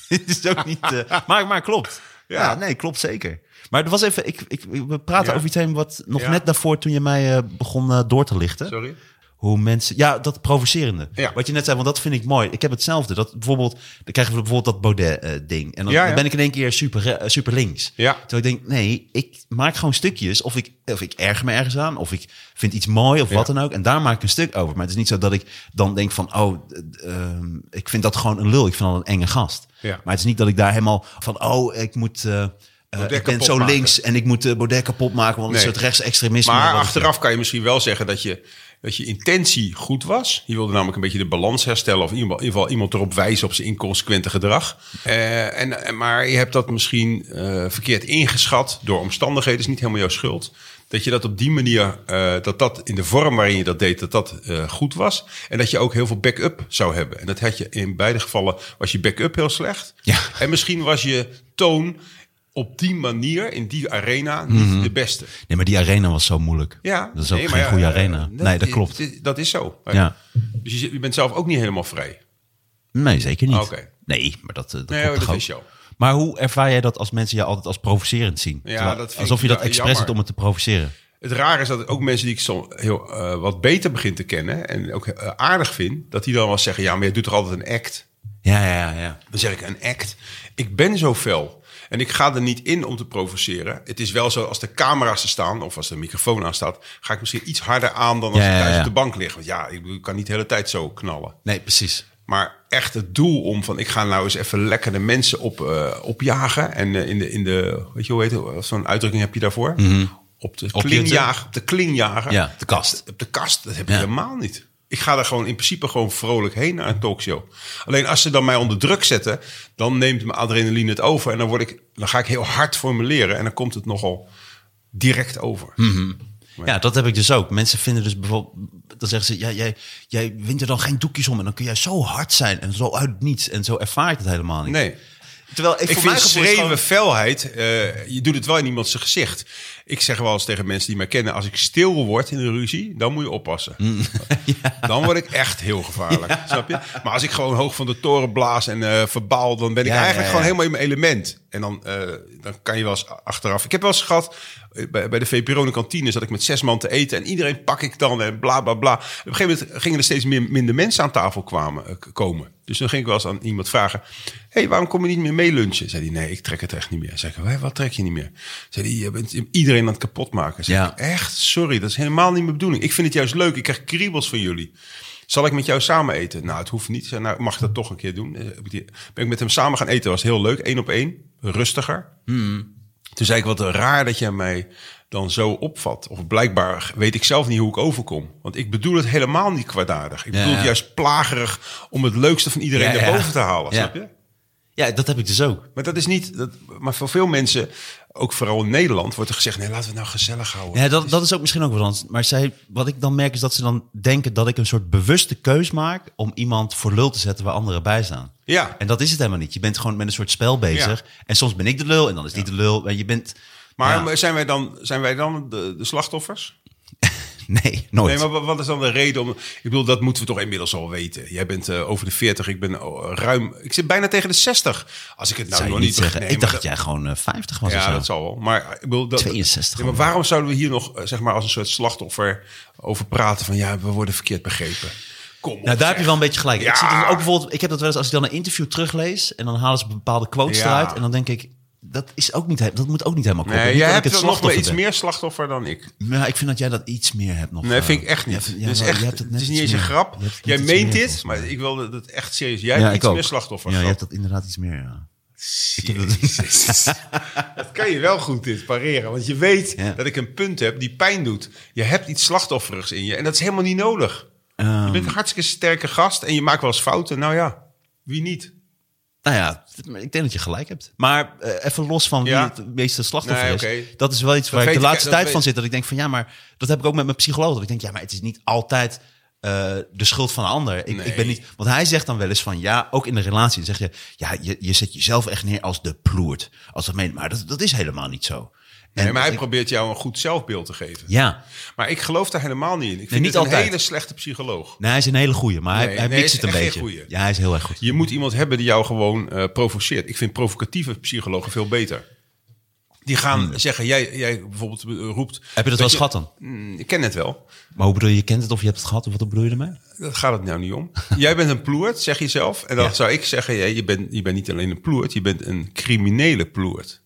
Speaker 2: Dit is ook niet... eh, maar, maar klopt.
Speaker 3: Ja.
Speaker 2: Ja. nee, klopt zeker. Maar er was even... Ik, ik, we praten
Speaker 3: Ja.
Speaker 2: over iets heen wat nog
Speaker 3: Ja.
Speaker 2: net daarvoor... toen je mij eh, begon eh, door te lichten.
Speaker 3: Sorry?
Speaker 2: Hoe mensen... Ja, dat provocerende.
Speaker 3: Ja.
Speaker 2: Wat je net zei, want dat vind ik mooi. Ik heb hetzelfde. Dat bijvoorbeeld... Dan krijgen we bijvoorbeeld dat Baudet-ding. en dan,
Speaker 3: Ja, ja.
Speaker 2: dan ben ik in één keer super, eh, super links.
Speaker 3: Ja.
Speaker 2: Terwijl ik denk, nee, ik maak gewoon stukjes. Of ik, of ik erger me ergens aan. Of ik vind iets mooi of wat
Speaker 3: Ja.
Speaker 2: dan ook. En daar maak ik een stuk over. Maar het is niet zo dat ik dan denk van... Oh, d- ehm, ik vind dat gewoon een lul. Ik vind dat een enge gast.
Speaker 3: Ja.
Speaker 2: Maar het is niet dat ik daar helemaal van... Oh, ik moet... eh, eh, ik ben
Speaker 3: kapot
Speaker 2: zo
Speaker 3: maken.
Speaker 2: links en ik moet eh, Baudet kapot maken, want het
Speaker 3: Nee.
Speaker 2: is een soort rechtsextremisme.
Speaker 3: Maar
Speaker 2: Wat-
Speaker 3: achteraf kan je misschien wel zeggen dat je, dat je intentie goed was. Je wilde namelijk een beetje de balans herstellen. Of in ieder geval- in ieder geval iemand erop wijzen op zijn inconsequente gedrag. Eh, en, en- maar je hebt dat misschien eh, verkeerd ingeschat door omstandigheden. is niet helemaal jouw schuld. Dat je dat op die manier, eh, dat dat in de vorm waarin je dat deed, dat dat eh, goed was. En dat je ook heel veel backup zou hebben. En dat had je in beide gevallen, was je backup heel slecht.
Speaker 2: Ja.
Speaker 3: En misschien was je toon op die manier, in die arena, niet de beste.
Speaker 2: Nee, maar die arena was zo moeilijk.
Speaker 3: Ja,
Speaker 2: Dat is ook
Speaker 3: nee,
Speaker 2: geen
Speaker 3: maar ja,
Speaker 2: goede
Speaker 3: eh,
Speaker 2: arena. nee, dat
Speaker 3: i-
Speaker 2: klopt.
Speaker 3: i- Dat is zo.
Speaker 2: Ja.
Speaker 3: Dus je, zit- je bent zelf ook niet helemaal vrij.
Speaker 2: Nee, zeker niet.
Speaker 3: Oké.
Speaker 2: Nee, maar dat, eh, dat
Speaker 3: Nee, oh,
Speaker 2: klopt
Speaker 3: dat
Speaker 2: toch
Speaker 3: is
Speaker 2: ook.
Speaker 3: zo.
Speaker 2: Maar hoe ervaar jij dat als mensen jou altijd als provocerend zien?
Speaker 3: Ja, dat vind
Speaker 2: alsof
Speaker 3: ik
Speaker 2: je dat
Speaker 3: ja-
Speaker 2: expres
Speaker 3: jammer.
Speaker 2: doet om het te provoceren.
Speaker 3: Het rare is dat ook mensen die ik soms heel eh, wat beter begin te kennen en ook eh, aardig vind, dat die dan wel zeggen: ja, maar je doet er altijd een act.
Speaker 2: Ja, ja, ja. ja.
Speaker 3: Dan zeg ik een act. Ik ben zo fel. En ik ga er niet in om te provoceren. Het is wel zo, als de camera's er staan of als de microfoon aan staat, ga ik misschien iets harder aan dan als
Speaker 2: Ja,
Speaker 3: ik
Speaker 2: ja,
Speaker 3: thuis
Speaker 2: ja.
Speaker 3: op de bank lig. Want ja, ik bedoel, ik kan niet de hele tijd zo knallen.
Speaker 2: Nee, precies.
Speaker 3: Maar echt het doel om van ik ga nou eens even lekker de mensen op, eh, opjagen. En eh, in, de, in de, weet je hoe heet het, Wat zo'n uitdrukking heb je daarvoor? Op de
Speaker 2: Opjutten.
Speaker 3: kling jagen. Op de kling jagen.
Speaker 2: Ja, de kast.
Speaker 3: Op de kast, dat heb
Speaker 2: Ja.
Speaker 3: ik helemaal niet. Ik ga daar gewoon in principe gewoon vrolijk heen naar een talkshow. Alleen als ze dan mij onder druk zetten, dan neemt mijn adrenaline het over. En dan, word ik, dan ga ik heel hard formuleren en dan komt het nogal direct over.
Speaker 2: Ja, dat heb ik dus ook. Mensen vinden dus bijvoorbeeld... Dan zeggen ze, ja, jij, jij wint er dan geen doekjes om. En dan kun jij zo hard zijn en zo uit het niets. En zo ervaar ik het helemaal niet.
Speaker 3: Nee.
Speaker 2: Terwijl ik,
Speaker 3: Ik
Speaker 2: voor mijn
Speaker 3: vind
Speaker 2: gevoel is het
Speaker 3: schreeuwen
Speaker 2: gewoon-
Speaker 3: felheid, eh, je doet het wel in iemands gezicht. Ik zeg wel eens tegen mensen die mij kennen, als ik stil word in een ruzie, dan moet je oppassen.
Speaker 2: Mm.
Speaker 3: *laughs* Dan word ik echt heel gevaarlijk, snap je? Maar als ik gewoon hoog van de toren blaas en eh, verbaal, dan ben ik
Speaker 2: Ja, ja,
Speaker 3: eigenlijk
Speaker 2: ja.
Speaker 3: gewoon helemaal in mijn element. En dan, eh, dan kan je wel eens achteraf. Ik heb wel eens gehad, eh, bij, bij de VPRO in de kantine zat ik met zes man te eten en iedereen pak ik dan en bla bla bla. Op een gegeven moment gingen er steeds meer, minder mensen aan tafel kwamen, eh, k- komen. Dus dan ging ik wel eens aan iemand vragen: hey, waarom kom je niet meer mee lunchen? Zei hij: Nee, ik trek het echt niet meer. Zei ik: "Hé, Wat trek je niet meer? Zei hij: Je bent iedereen aan het kapotmaken. Zei
Speaker 2: Ja.
Speaker 3: ik, Echt, sorry, dat is helemaal niet mijn bedoeling. Ik vind het juist leuk. Ik krijg kriebels van jullie. Zal ik met jou samen eten? Nou, het hoeft niet. Zei, nou, mag ik dat toch een keer doen? Eh, heb ik die- Ben ik met hem samen gaan eten. Was heel leuk. Eén op één. Rustiger.
Speaker 2: Hmm.
Speaker 3: Toen zei ik, wat raar dat jij mij dan zo opvat. Of blijkbaar weet ik zelf niet hoe ik overkom. Want ik bedoel het helemaal niet kwaadaardig. Ik bedoel
Speaker 2: Ja,
Speaker 3: het
Speaker 2: ja.
Speaker 3: juist plagerig om het leukste van iedereen
Speaker 2: Ja, ja.
Speaker 3: naar boven te halen.
Speaker 2: Ja.
Speaker 3: Snap je?
Speaker 2: Ja, dat heb ik dus ook.
Speaker 3: Maar dat is niet... Dat, maar voor veel mensen, ook vooral in Nederland, wordt er gezegd... nee, laten we het nou gezellig houden.
Speaker 2: Ja, dat, dat is ook misschien ook wat anders. Maar zij, wat ik dan merk is dat ze dan denken dat ik een soort bewuste keus maak om iemand voor lul te zetten waar anderen bij staan.
Speaker 3: Ja.
Speaker 2: En dat is het helemaal niet. Je bent gewoon met een soort spel bezig. En soms ben ik de lul en dan is die de lul. En je bent.
Speaker 3: Maar
Speaker 2: Ja.
Speaker 3: zijn wij dan, zijn wij dan de, de slachtoffers?
Speaker 2: Nee, nooit.
Speaker 3: Nee, maar wa- wat is dan de reden om... Ik bedoel, dat moeten we toch inmiddels al weten. Jij bent eh, over de 40, ik ben eh, ruim... Ik zit bijna tegen de 60. Als ik het nou
Speaker 2: zou
Speaker 3: nog
Speaker 2: je niet
Speaker 3: niet...
Speaker 2: zeggen.
Speaker 3: nee,
Speaker 2: ik
Speaker 3: maar
Speaker 2: dacht dat jij gewoon eh, 50 was.
Speaker 3: dat-
Speaker 2: of zo.
Speaker 3: Ja, dat zal wel. Maar, eh, ik bedoel, dat,
Speaker 2: 62
Speaker 3: Ja, maar
Speaker 2: gewoon.
Speaker 3: waarom zouden we hier nog eh, zeg maar, als een soort slachtoffer over praten? Van ja, we worden verkeerd begrepen. Kom op,
Speaker 2: Nou, daar heb je
Speaker 3: zeg.
Speaker 2: wel een beetje gelijk.
Speaker 3: Ja.
Speaker 2: Ik, zie dat ook bijvoorbeeld, ik heb dat wel eens als ik dan een interview teruglees en dan halen ze bepaalde quotes
Speaker 3: Ja.
Speaker 2: eruit. En dan denk ik, dat, is ook niet, he- dat moet ook niet helemaal kloppen.
Speaker 3: Nee,
Speaker 2: Niet
Speaker 3: jij
Speaker 2: dat ik
Speaker 3: hebt
Speaker 2: het
Speaker 3: er nog wel
Speaker 2: slachtoffer
Speaker 3: iets
Speaker 2: ben.
Speaker 3: meer slachtoffer dan ik.
Speaker 2: Maar ik vind dat jij dat iets meer hebt nog.
Speaker 3: Nee,
Speaker 2: eh,
Speaker 3: vind ik echt
Speaker 2: jij
Speaker 3: niet.
Speaker 2: vindt-
Speaker 3: Het
Speaker 2: jij
Speaker 3: is,
Speaker 2: wel-
Speaker 3: echt,
Speaker 2: jij hebt het
Speaker 3: het
Speaker 2: net
Speaker 3: is niet
Speaker 2: iets
Speaker 3: eens een
Speaker 2: meer.
Speaker 3: grap.
Speaker 2: Je hebt het
Speaker 3: Jij
Speaker 2: iets
Speaker 3: meent
Speaker 2: meer,
Speaker 3: dit,
Speaker 2: volgens mij.
Speaker 3: maar ik wil dat echt serieus. Jij
Speaker 2: Ja,
Speaker 3: hebt
Speaker 2: ik
Speaker 3: iets
Speaker 2: ook.
Speaker 3: meer slachtoffer.
Speaker 2: Ja, je hebt dat inderdaad iets meer, eh. ja.
Speaker 3: Jezus. *laughs* dat kan je wel goed dit pareren. Want je weet
Speaker 2: Ja.
Speaker 3: dat ik een punt heb die pijn doet. Je hebt iets slachtofferigs in je. En dat is helemaal niet nodig. je
Speaker 2: Oh.
Speaker 3: bent een hartstikke sterke gast en je maakt wel eens fouten. Nou ja, wie niet?
Speaker 2: Nou ja, ik denk dat je gelijk hebt. Maar eh, even los van
Speaker 3: Ja.
Speaker 2: wie het meeste slachtoffer
Speaker 3: Nee,
Speaker 2: is.
Speaker 3: oké.
Speaker 2: Dat is wel iets waar
Speaker 3: weet
Speaker 2: ik
Speaker 3: ik-
Speaker 2: de laatste
Speaker 3: dat
Speaker 2: tijd
Speaker 3: weet-
Speaker 2: van zit. Dat ik denk van ja, maar dat heb ik ook met mijn psycholoog. Dat ik denk ja, maar het is niet altijd eh, de schuld van een ander. Ik,
Speaker 3: Nee.
Speaker 2: ik ben niet, want hij zegt dan wel eens van ja, ook in de relatie. Dan zeg je ja, je, je zet jezelf echt neer als de ploert. Als dat meent. Maar dat, dat is helemaal niet zo. En
Speaker 3: Nee, maar hij
Speaker 2: ik-
Speaker 3: probeert jou een goed zelfbeeld te geven.
Speaker 2: ja,
Speaker 3: Maar ik geloof daar helemaal niet in. Ik vind
Speaker 2: niet
Speaker 3: het een
Speaker 2: altijd.
Speaker 3: hele slechte psycholoog.
Speaker 2: nee, hij is een hele goeie, maar hij,
Speaker 3: Nee,
Speaker 2: hij
Speaker 3: nee,
Speaker 2: mixt
Speaker 3: hij
Speaker 2: het
Speaker 3: is
Speaker 2: een
Speaker 3: echt
Speaker 2: beetje.
Speaker 3: geen goeie.
Speaker 2: Ja, hij is heel erg goed.
Speaker 3: Je moet iemand hebben die jou gewoon eh, provoceert. Ik vind provocatieve psychologen veel beter. Die gaan zeggen, jij, jij bijvoorbeeld eh, roept...
Speaker 2: Hmm. Heb je dat wel
Speaker 3: je-
Speaker 2: schat dan?
Speaker 3: Mm, Ik ken het wel.
Speaker 2: Maar hoe bedoel je, je kent het of je hebt het gehad? Of wat bedoel je ermee?
Speaker 3: Daar gaat het nou niet om. Jij bent een ploert, zeg je zelf. En dan
Speaker 2: Ja.
Speaker 3: zou ik zeggen, ja, je, bent, je bent niet alleen een ploert, je bent een criminele ploert.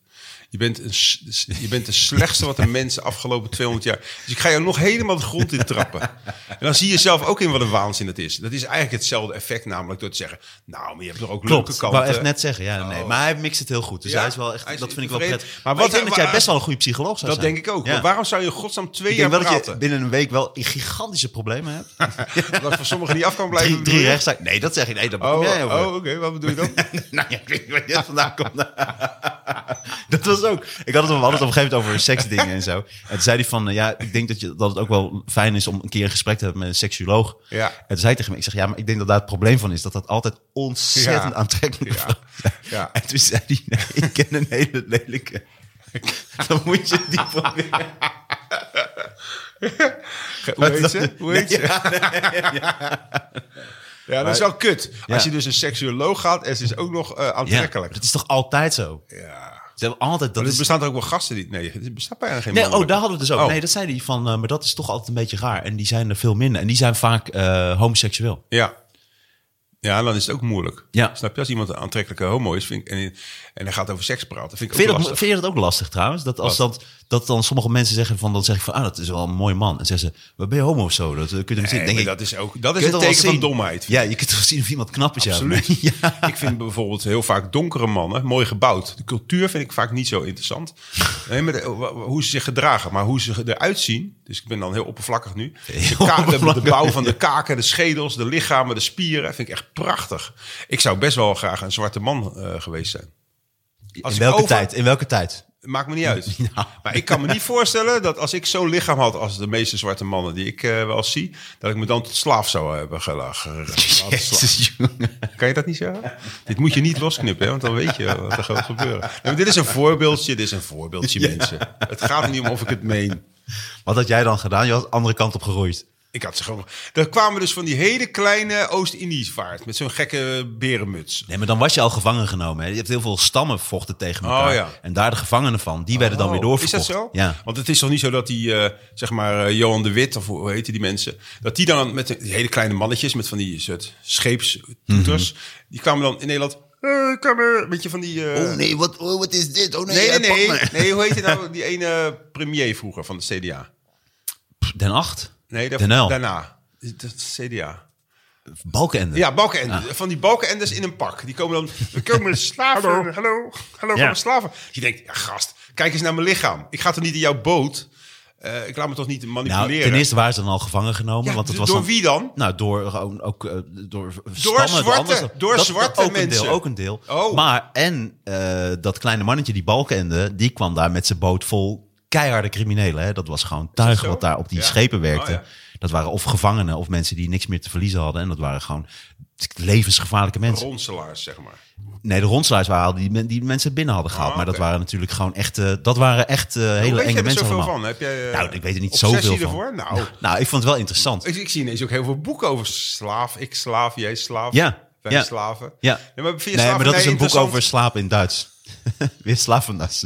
Speaker 3: Je bent, een, s- s- je bent de slechtste wat de mensen afgelopen 200 jaar... Dus ik ga jou nog helemaal de grond in trappen. En dan zie je zelf ook in wat een waanzin dat is. Dat is eigenlijk hetzelfde effect namelijk door te zeggen... nou, maar je hebt er ook
Speaker 2: Klopt,
Speaker 3: leuke
Speaker 2: ik
Speaker 3: kanten. Oh.
Speaker 2: wou echt net zeggen. Ja, nee, maar hij mixt het heel goed. Dus
Speaker 3: Ja,
Speaker 2: hij is wel echt,
Speaker 3: hij is
Speaker 2: dat vind ik wel
Speaker 3: tevreden.
Speaker 2: prettig. Maar,
Speaker 3: Maar
Speaker 2: wat, ik
Speaker 3: wat-
Speaker 2: denk dat jij
Speaker 3: waar-
Speaker 2: best wel een goede psycholoog zou
Speaker 3: Dat
Speaker 2: zijn.
Speaker 3: denk ik ook.
Speaker 2: Ja.
Speaker 3: Maar waarom zou je in godsnaam twee
Speaker 2: ik
Speaker 3: jaar
Speaker 2: denk wel dat
Speaker 3: praten?
Speaker 2: je binnen een week wel gigantische problemen
Speaker 3: *laughs*
Speaker 2: hebt. *laughs*
Speaker 3: Dat voor sommigen niet af kan blijven.
Speaker 2: drie drie
Speaker 3: bedoel je?
Speaker 2: rechtszaken. Nee, dat zeg ik. Nee, dat
Speaker 3: Oh,
Speaker 2: bedoel jij over.
Speaker 3: oh oké, wat bedoel je
Speaker 2: *laughs*
Speaker 3: dan?
Speaker 2: nou ja, ik weet niet waar jij vandaan komt. *laughs* dat was ook. Ik had het, we hadden het op een gegeven moment over seksdingen en zo. En toen zei hij van, eh, ja, ik denk dat, je, dat het ook wel fijn is om een keer een gesprek te hebben met een seksuoloog.
Speaker 3: Ja.
Speaker 2: En toen zei hij tegen me, ik zeg, ja, maar ik denk dat daar het probleem van is. Dat dat altijd ontzettend
Speaker 3: Ja.
Speaker 2: aantrekkelijk is.
Speaker 3: Ja. Ja.
Speaker 2: *laughs* En toen zei hij, nee, ik ken een hele
Speaker 3: *laughs*
Speaker 2: lelijke. Dan moet je die proberen.
Speaker 3: Hoe heet
Speaker 2: dat-
Speaker 3: ze? Hoe heet ze? Ja, dat is wel kut.
Speaker 2: Ja.
Speaker 3: Als je dus een seksuoloog gaat en ze is ook nog eh,
Speaker 2: Ja,
Speaker 3: aantrekkelijk.
Speaker 2: dat is toch altijd zo?
Speaker 3: Ja.
Speaker 2: Ze hebben altijd... Dat
Speaker 3: Maar er
Speaker 2: is-
Speaker 3: bestaan ook wel gasten die... Nee, er bestaat bijna geen
Speaker 2: Nee, oh,
Speaker 3: mannelijke.
Speaker 2: daar hadden we het dus ook.
Speaker 3: Oh.
Speaker 2: Nee, dat zei hij van, eh, maar dat is toch altijd een beetje raar. En die zijn er veel minder. En die zijn vaak eh, homoseksueel.
Speaker 3: Ja. Ja, dan is het ook moeilijk.
Speaker 2: Ja.
Speaker 3: Snap je? Als iemand een aantrekkelijke homo is vind ik, en, en hij gaat over seks praten, vind ik
Speaker 2: Vind je,
Speaker 3: ook
Speaker 2: dat,
Speaker 3: lastig.
Speaker 2: vind je dat ook lastig trouwens? Dat als dat, dat dan sommige mensen zeggen van, dan zeg ik van, ah, dat is wel een mooi man. En zeggen ze, maar ben je homo of zo? Dat eh, kun je hem
Speaker 3: Nee,
Speaker 2: zien.
Speaker 3: maar
Speaker 2: Denk ik,
Speaker 3: dat is, ook, dat
Speaker 2: kun
Speaker 3: is
Speaker 2: je toch
Speaker 3: een
Speaker 2: wel
Speaker 3: teken van
Speaker 2: zien?
Speaker 3: domheid.
Speaker 2: Ja, je kunt toch wel zien of iemand knap is. ja.
Speaker 3: Absoluut.
Speaker 2: *laughs* Ja.
Speaker 3: Ik vind bijvoorbeeld heel vaak donkere mannen mooi gebouwd. De cultuur vind ik vaak niet zo
Speaker 2: *laughs*
Speaker 3: interessant. Nee, maar de- wa- wa- hoe ze zich gedragen, maar hoe ze eruit zien. Dus ik ben dan heel oppervlakkig nu. De, ka- de- de,
Speaker 2: oppervlakkig.
Speaker 3: bouw van de kaken, de schedels, de lichamen, de spieren. Vind ik echt prachtig. Ik zou best wel graag een zwarte man eh, geweest zijn. Als
Speaker 2: In
Speaker 3: ik
Speaker 2: welke
Speaker 3: over-
Speaker 2: tijd? In welke *laughs* tijd?
Speaker 3: Maakt me niet uit.
Speaker 2: Nou.
Speaker 3: Maar ik kan me niet voorstellen dat als ik zo'n lichaam had als de meeste zwarte mannen die ik eh, wel eens zie, dat ik me dan tot slaaf zou hebben gelachen.
Speaker 2: Jezus, jongen.
Speaker 3: Kan je dat niet
Speaker 2: *laughs*
Speaker 3: zeggen? Dit moet je niet losknippen, hè, want dan weet je wat er gaat gebeuren. Nee, maar dit is een voorbeeldje, dit is een voorbeeldje, mensen. Het gaat er niet om of ik het meen.
Speaker 2: Wat had jij dan gedaan? Je had de andere kant op geroeid.
Speaker 3: Ik had ze gewoon... Er kwamen dus van die hele kleine Oost-Indisch vaart met zo'n gekke berenmuts.
Speaker 2: Nee, maar dan was je al gevangen genomen. Hè? Je hebt heel veel stammen vochten tegen elkaar.
Speaker 3: Oh, ja.
Speaker 2: En daar de gevangenen van, die werden dan weer
Speaker 3: Oh, Is
Speaker 2: doorverkocht.
Speaker 3: dat zo?
Speaker 2: Ja.
Speaker 3: Want het is toch niet zo dat die, eh, zeg maar, eh, Johan de Wit, of hoe heten die mensen, dat die dan met de, die hele kleine mannetjes, met van die soort
Speaker 2: Mhm.
Speaker 3: scheepstoeters, die kwamen dan in Nederland, hey, kom maar, een beetje van die... eh,
Speaker 2: Oh nee, wat, oh, wat is dit? Oh nee,
Speaker 3: Nee,
Speaker 2: eh,
Speaker 3: nee,
Speaker 2: pak
Speaker 3: nee.
Speaker 2: me.
Speaker 3: Nee, hoe heet hij nou? Die ene premier vroeger van de CDA.
Speaker 2: Pff, Den Acht?
Speaker 3: Nee, daar-
Speaker 2: Den Uyl.
Speaker 3: daarna. Dat is CDA.
Speaker 2: Balkenende.
Speaker 3: Ja, balkenenders. Van die balkenenders in een pak. Die komen dan... We komen de slaven. hallo, hallo, hallo,
Speaker 2: Ja.
Speaker 3: komen slaven. Je denkt, ja gast, kijk eens naar mijn lichaam. Ik ga toch niet in jouw boot... eh, ik laat me toch niet
Speaker 2: Nou,
Speaker 3: manipuleren.
Speaker 2: ten eerste waren ze dan al gevangen genomen.
Speaker 3: Ja, dus
Speaker 2: want het was
Speaker 3: door
Speaker 2: dan-
Speaker 3: wie dan?
Speaker 2: Nou, door gewoon ook eh, door
Speaker 3: Door
Speaker 2: stammen,
Speaker 3: zwarte-
Speaker 2: anders-
Speaker 3: door
Speaker 2: dat-
Speaker 3: zwarte
Speaker 2: ook een
Speaker 3: mensen.
Speaker 2: Deel, ook een deel.
Speaker 3: Oh.
Speaker 2: Maar en eh, dat kleine mannetje, die balkende, die kwam daar met zijn boot vol keiharde criminelen. Hè? Dat was gewoon tuig
Speaker 3: zo?
Speaker 2: wat daar op die
Speaker 3: Ja.
Speaker 2: schepen werkte.
Speaker 3: Oh, ja.
Speaker 2: Dat waren of gevangenen of mensen die niks meer te verliezen hadden. En dat waren gewoon levensgevaarlijke mensen.
Speaker 3: Ronselaars, zeg maar.
Speaker 2: Nee, de ronselaars waren al die, men- die mensen binnen hadden gehaald.
Speaker 3: Oh,
Speaker 2: Maar dat
Speaker 3: oké.
Speaker 2: waren natuurlijk gewoon echt, eh, dat waren echt eh,
Speaker 3: Hoe
Speaker 2: hele
Speaker 3: weet jij
Speaker 2: enge
Speaker 3: er
Speaker 2: mensen
Speaker 3: zoveel
Speaker 2: allemaal.
Speaker 3: van? Heb jij, eh,
Speaker 2: Nou, ik weet er niet
Speaker 3: obsessie
Speaker 2: zoveel van.
Speaker 3: ervoor? Nou,
Speaker 2: *laughs* Nou, ik vond het wel interessant.
Speaker 3: ik, ik zie ineens ook heel veel boeken over slaaf. Ik slaaf, jij slaaf.
Speaker 2: Ja,
Speaker 3: Wij
Speaker 2: ja.
Speaker 3: slaven.
Speaker 2: Ja.
Speaker 3: Ja, maar, vind je
Speaker 2: nee, maar dat
Speaker 3: slavernij
Speaker 2: is een boek
Speaker 3: interessant?
Speaker 2: over slapen in Duits. *laughs* Weer slavendas.
Speaker 3: *laughs*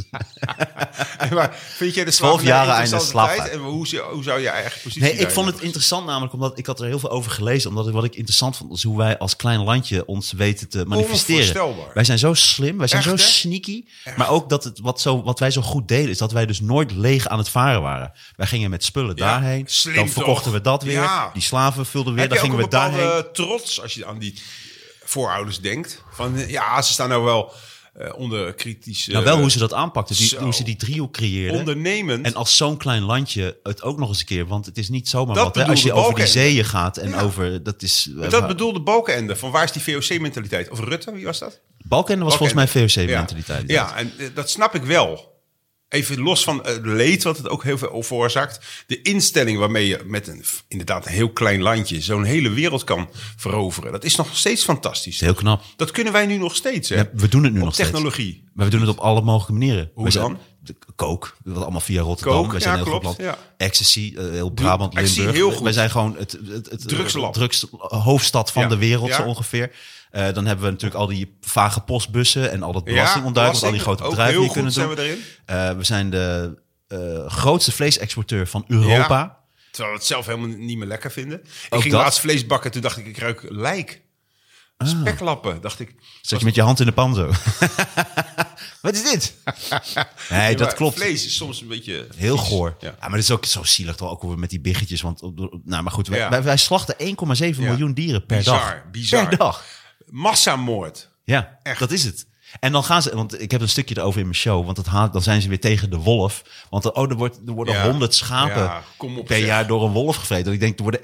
Speaker 3: Maar vind jij de
Speaker 2: 12
Speaker 3: slavernij
Speaker 2: jaren einde
Speaker 3: interessante tijd?
Speaker 2: slaaftijd.
Speaker 3: En hoe, zou- hoe zou je eigen positie
Speaker 2: Nee, ik
Speaker 3: daarin
Speaker 2: vond het
Speaker 3: hebben?
Speaker 2: interessant namelijk omdat ik had er heel veel over gelezen. Omdat ik, wat ik interessant vond is hoe wij als klein landje ons weten te manifesteren.
Speaker 3: Onvoorstelbaar.
Speaker 2: Wij zijn zo slim, wij zijn
Speaker 3: Echt,
Speaker 2: zo
Speaker 3: hè?
Speaker 2: sneaky. Maar ook dat het, wat, zo, wat wij zo goed deden is dat wij dus nooit leeg aan het varen waren. Wij gingen met spullen
Speaker 3: Ja,
Speaker 2: daarheen.
Speaker 3: slim
Speaker 2: dan verkochten
Speaker 3: toch?
Speaker 2: we dat weer.
Speaker 3: Ja.
Speaker 2: Die slaven vulden weer. Dan
Speaker 3: Heb je ook
Speaker 2: gingen
Speaker 3: een
Speaker 2: we daarheen.
Speaker 3: bepaalde trots als je aan die voorouders denkt? Van eh, ja, ze staan nou wel eh, onder kritisch...
Speaker 2: nou, wel hoe ze dat aanpakten. Die,
Speaker 3: zo.
Speaker 2: hoe ze die driehoek creëerden.
Speaker 3: Ondernemend.
Speaker 2: En als zo'n klein landje het ook nog eens een keer, want het is niet zomaar
Speaker 3: Dat
Speaker 2: wat. Hè? Als je
Speaker 3: bedoelde
Speaker 2: over die
Speaker 3: Balkenende.
Speaker 2: zeeën gaat en
Speaker 3: Ja.
Speaker 2: over dat is. eh,
Speaker 3: dat bedoelde Balkenende. Van waar is die VOC-mentaliteit? Of Rutte, wie was dat?
Speaker 2: Balkenende was volgens mij
Speaker 3: Balkenende.
Speaker 2: VOC-mentaliteit.
Speaker 3: Ja, ja en eh, dat snap ik wel. Even los van eh, het leed wat het ook heel veel veroorzaakt. De instelling waarmee je met een, f- inderdaad een heel klein landje zo'n hele wereld kan veroveren. Dat is nog steeds fantastisch.
Speaker 2: Heel knap.
Speaker 3: Dat kunnen wij nu nog steeds. Hè?
Speaker 2: Ja, we doen het nu
Speaker 3: Op
Speaker 2: nog steeds.
Speaker 3: technologie.
Speaker 2: Maar we doen het op alle mogelijke manieren.
Speaker 3: Hoe
Speaker 2: We zijn-
Speaker 3: dan?
Speaker 2: de- Kook, wat allemaal via Rotterdam.
Speaker 3: Kook,
Speaker 2: we zijn
Speaker 3: ja,
Speaker 2: heel
Speaker 3: klopt,
Speaker 2: goed land.
Speaker 3: ja.
Speaker 2: Ecstasy, eh, heel Brabant,
Speaker 3: Ecstasy,
Speaker 2: Limburg.
Speaker 3: heel
Speaker 2: We-
Speaker 3: goed.
Speaker 2: Wij zijn gewoon het, het, het
Speaker 3: Drugsland.
Speaker 2: drugs- hoofdstad van
Speaker 3: Ja,
Speaker 2: de wereld
Speaker 3: ja.
Speaker 2: zo ongeveer. Eh, dan hebben we natuurlijk al die vage postbussen en al dat belastingontduiking, wat al die
Speaker 3: belasting,
Speaker 2: grote
Speaker 3: ook
Speaker 2: bedrijven
Speaker 3: heel
Speaker 2: die kunnen
Speaker 3: goed
Speaker 2: doen.
Speaker 3: zijn we
Speaker 2: Eh, we zijn de eh, grootste vleesexporteur van Europa.
Speaker 3: Ja. Terwijl we het zelf helemaal niet meer lekker vinden. Ik
Speaker 2: Ook
Speaker 3: ging
Speaker 2: dat? Ah.
Speaker 3: laatst vlees bakken, toen dacht ik, ik ruik lijk. Speklappen, dacht ik.
Speaker 2: Zat je met je hand in de pan
Speaker 3: *laughs*
Speaker 2: zo. Wat is dit? Nee,
Speaker 3: Ja,
Speaker 2: dat
Speaker 3: maar
Speaker 2: klopt.
Speaker 3: Vlees is soms een beetje...
Speaker 2: Heel
Speaker 3: vies.
Speaker 2: goor. Ja.
Speaker 3: Ja.
Speaker 2: maar dat is ook zo zielig toch ook hoe we met die biggetjes. Want, op de- nou, maar goed, wij,
Speaker 3: Ja.
Speaker 2: wij, wij slachten 1,7
Speaker 3: Ja.
Speaker 2: miljoen dieren per
Speaker 3: Bizar,
Speaker 2: dag.
Speaker 3: bizar.
Speaker 2: Per dag.
Speaker 3: Massamoord.
Speaker 2: Ja,
Speaker 3: Echt.
Speaker 2: dat is het. En dan gaan ze, want ik heb een stukje erover in mijn show, want dat haat, dan zijn ze weer tegen de wolf. Want er, oh, er, wordt, er worden
Speaker 3: Ja.
Speaker 2: 100 schapen
Speaker 3: Ja, kom op,
Speaker 2: per
Speaker 3: zeg.
Speaker 2: jaar door een wolf gevreten. En ik denk, er worden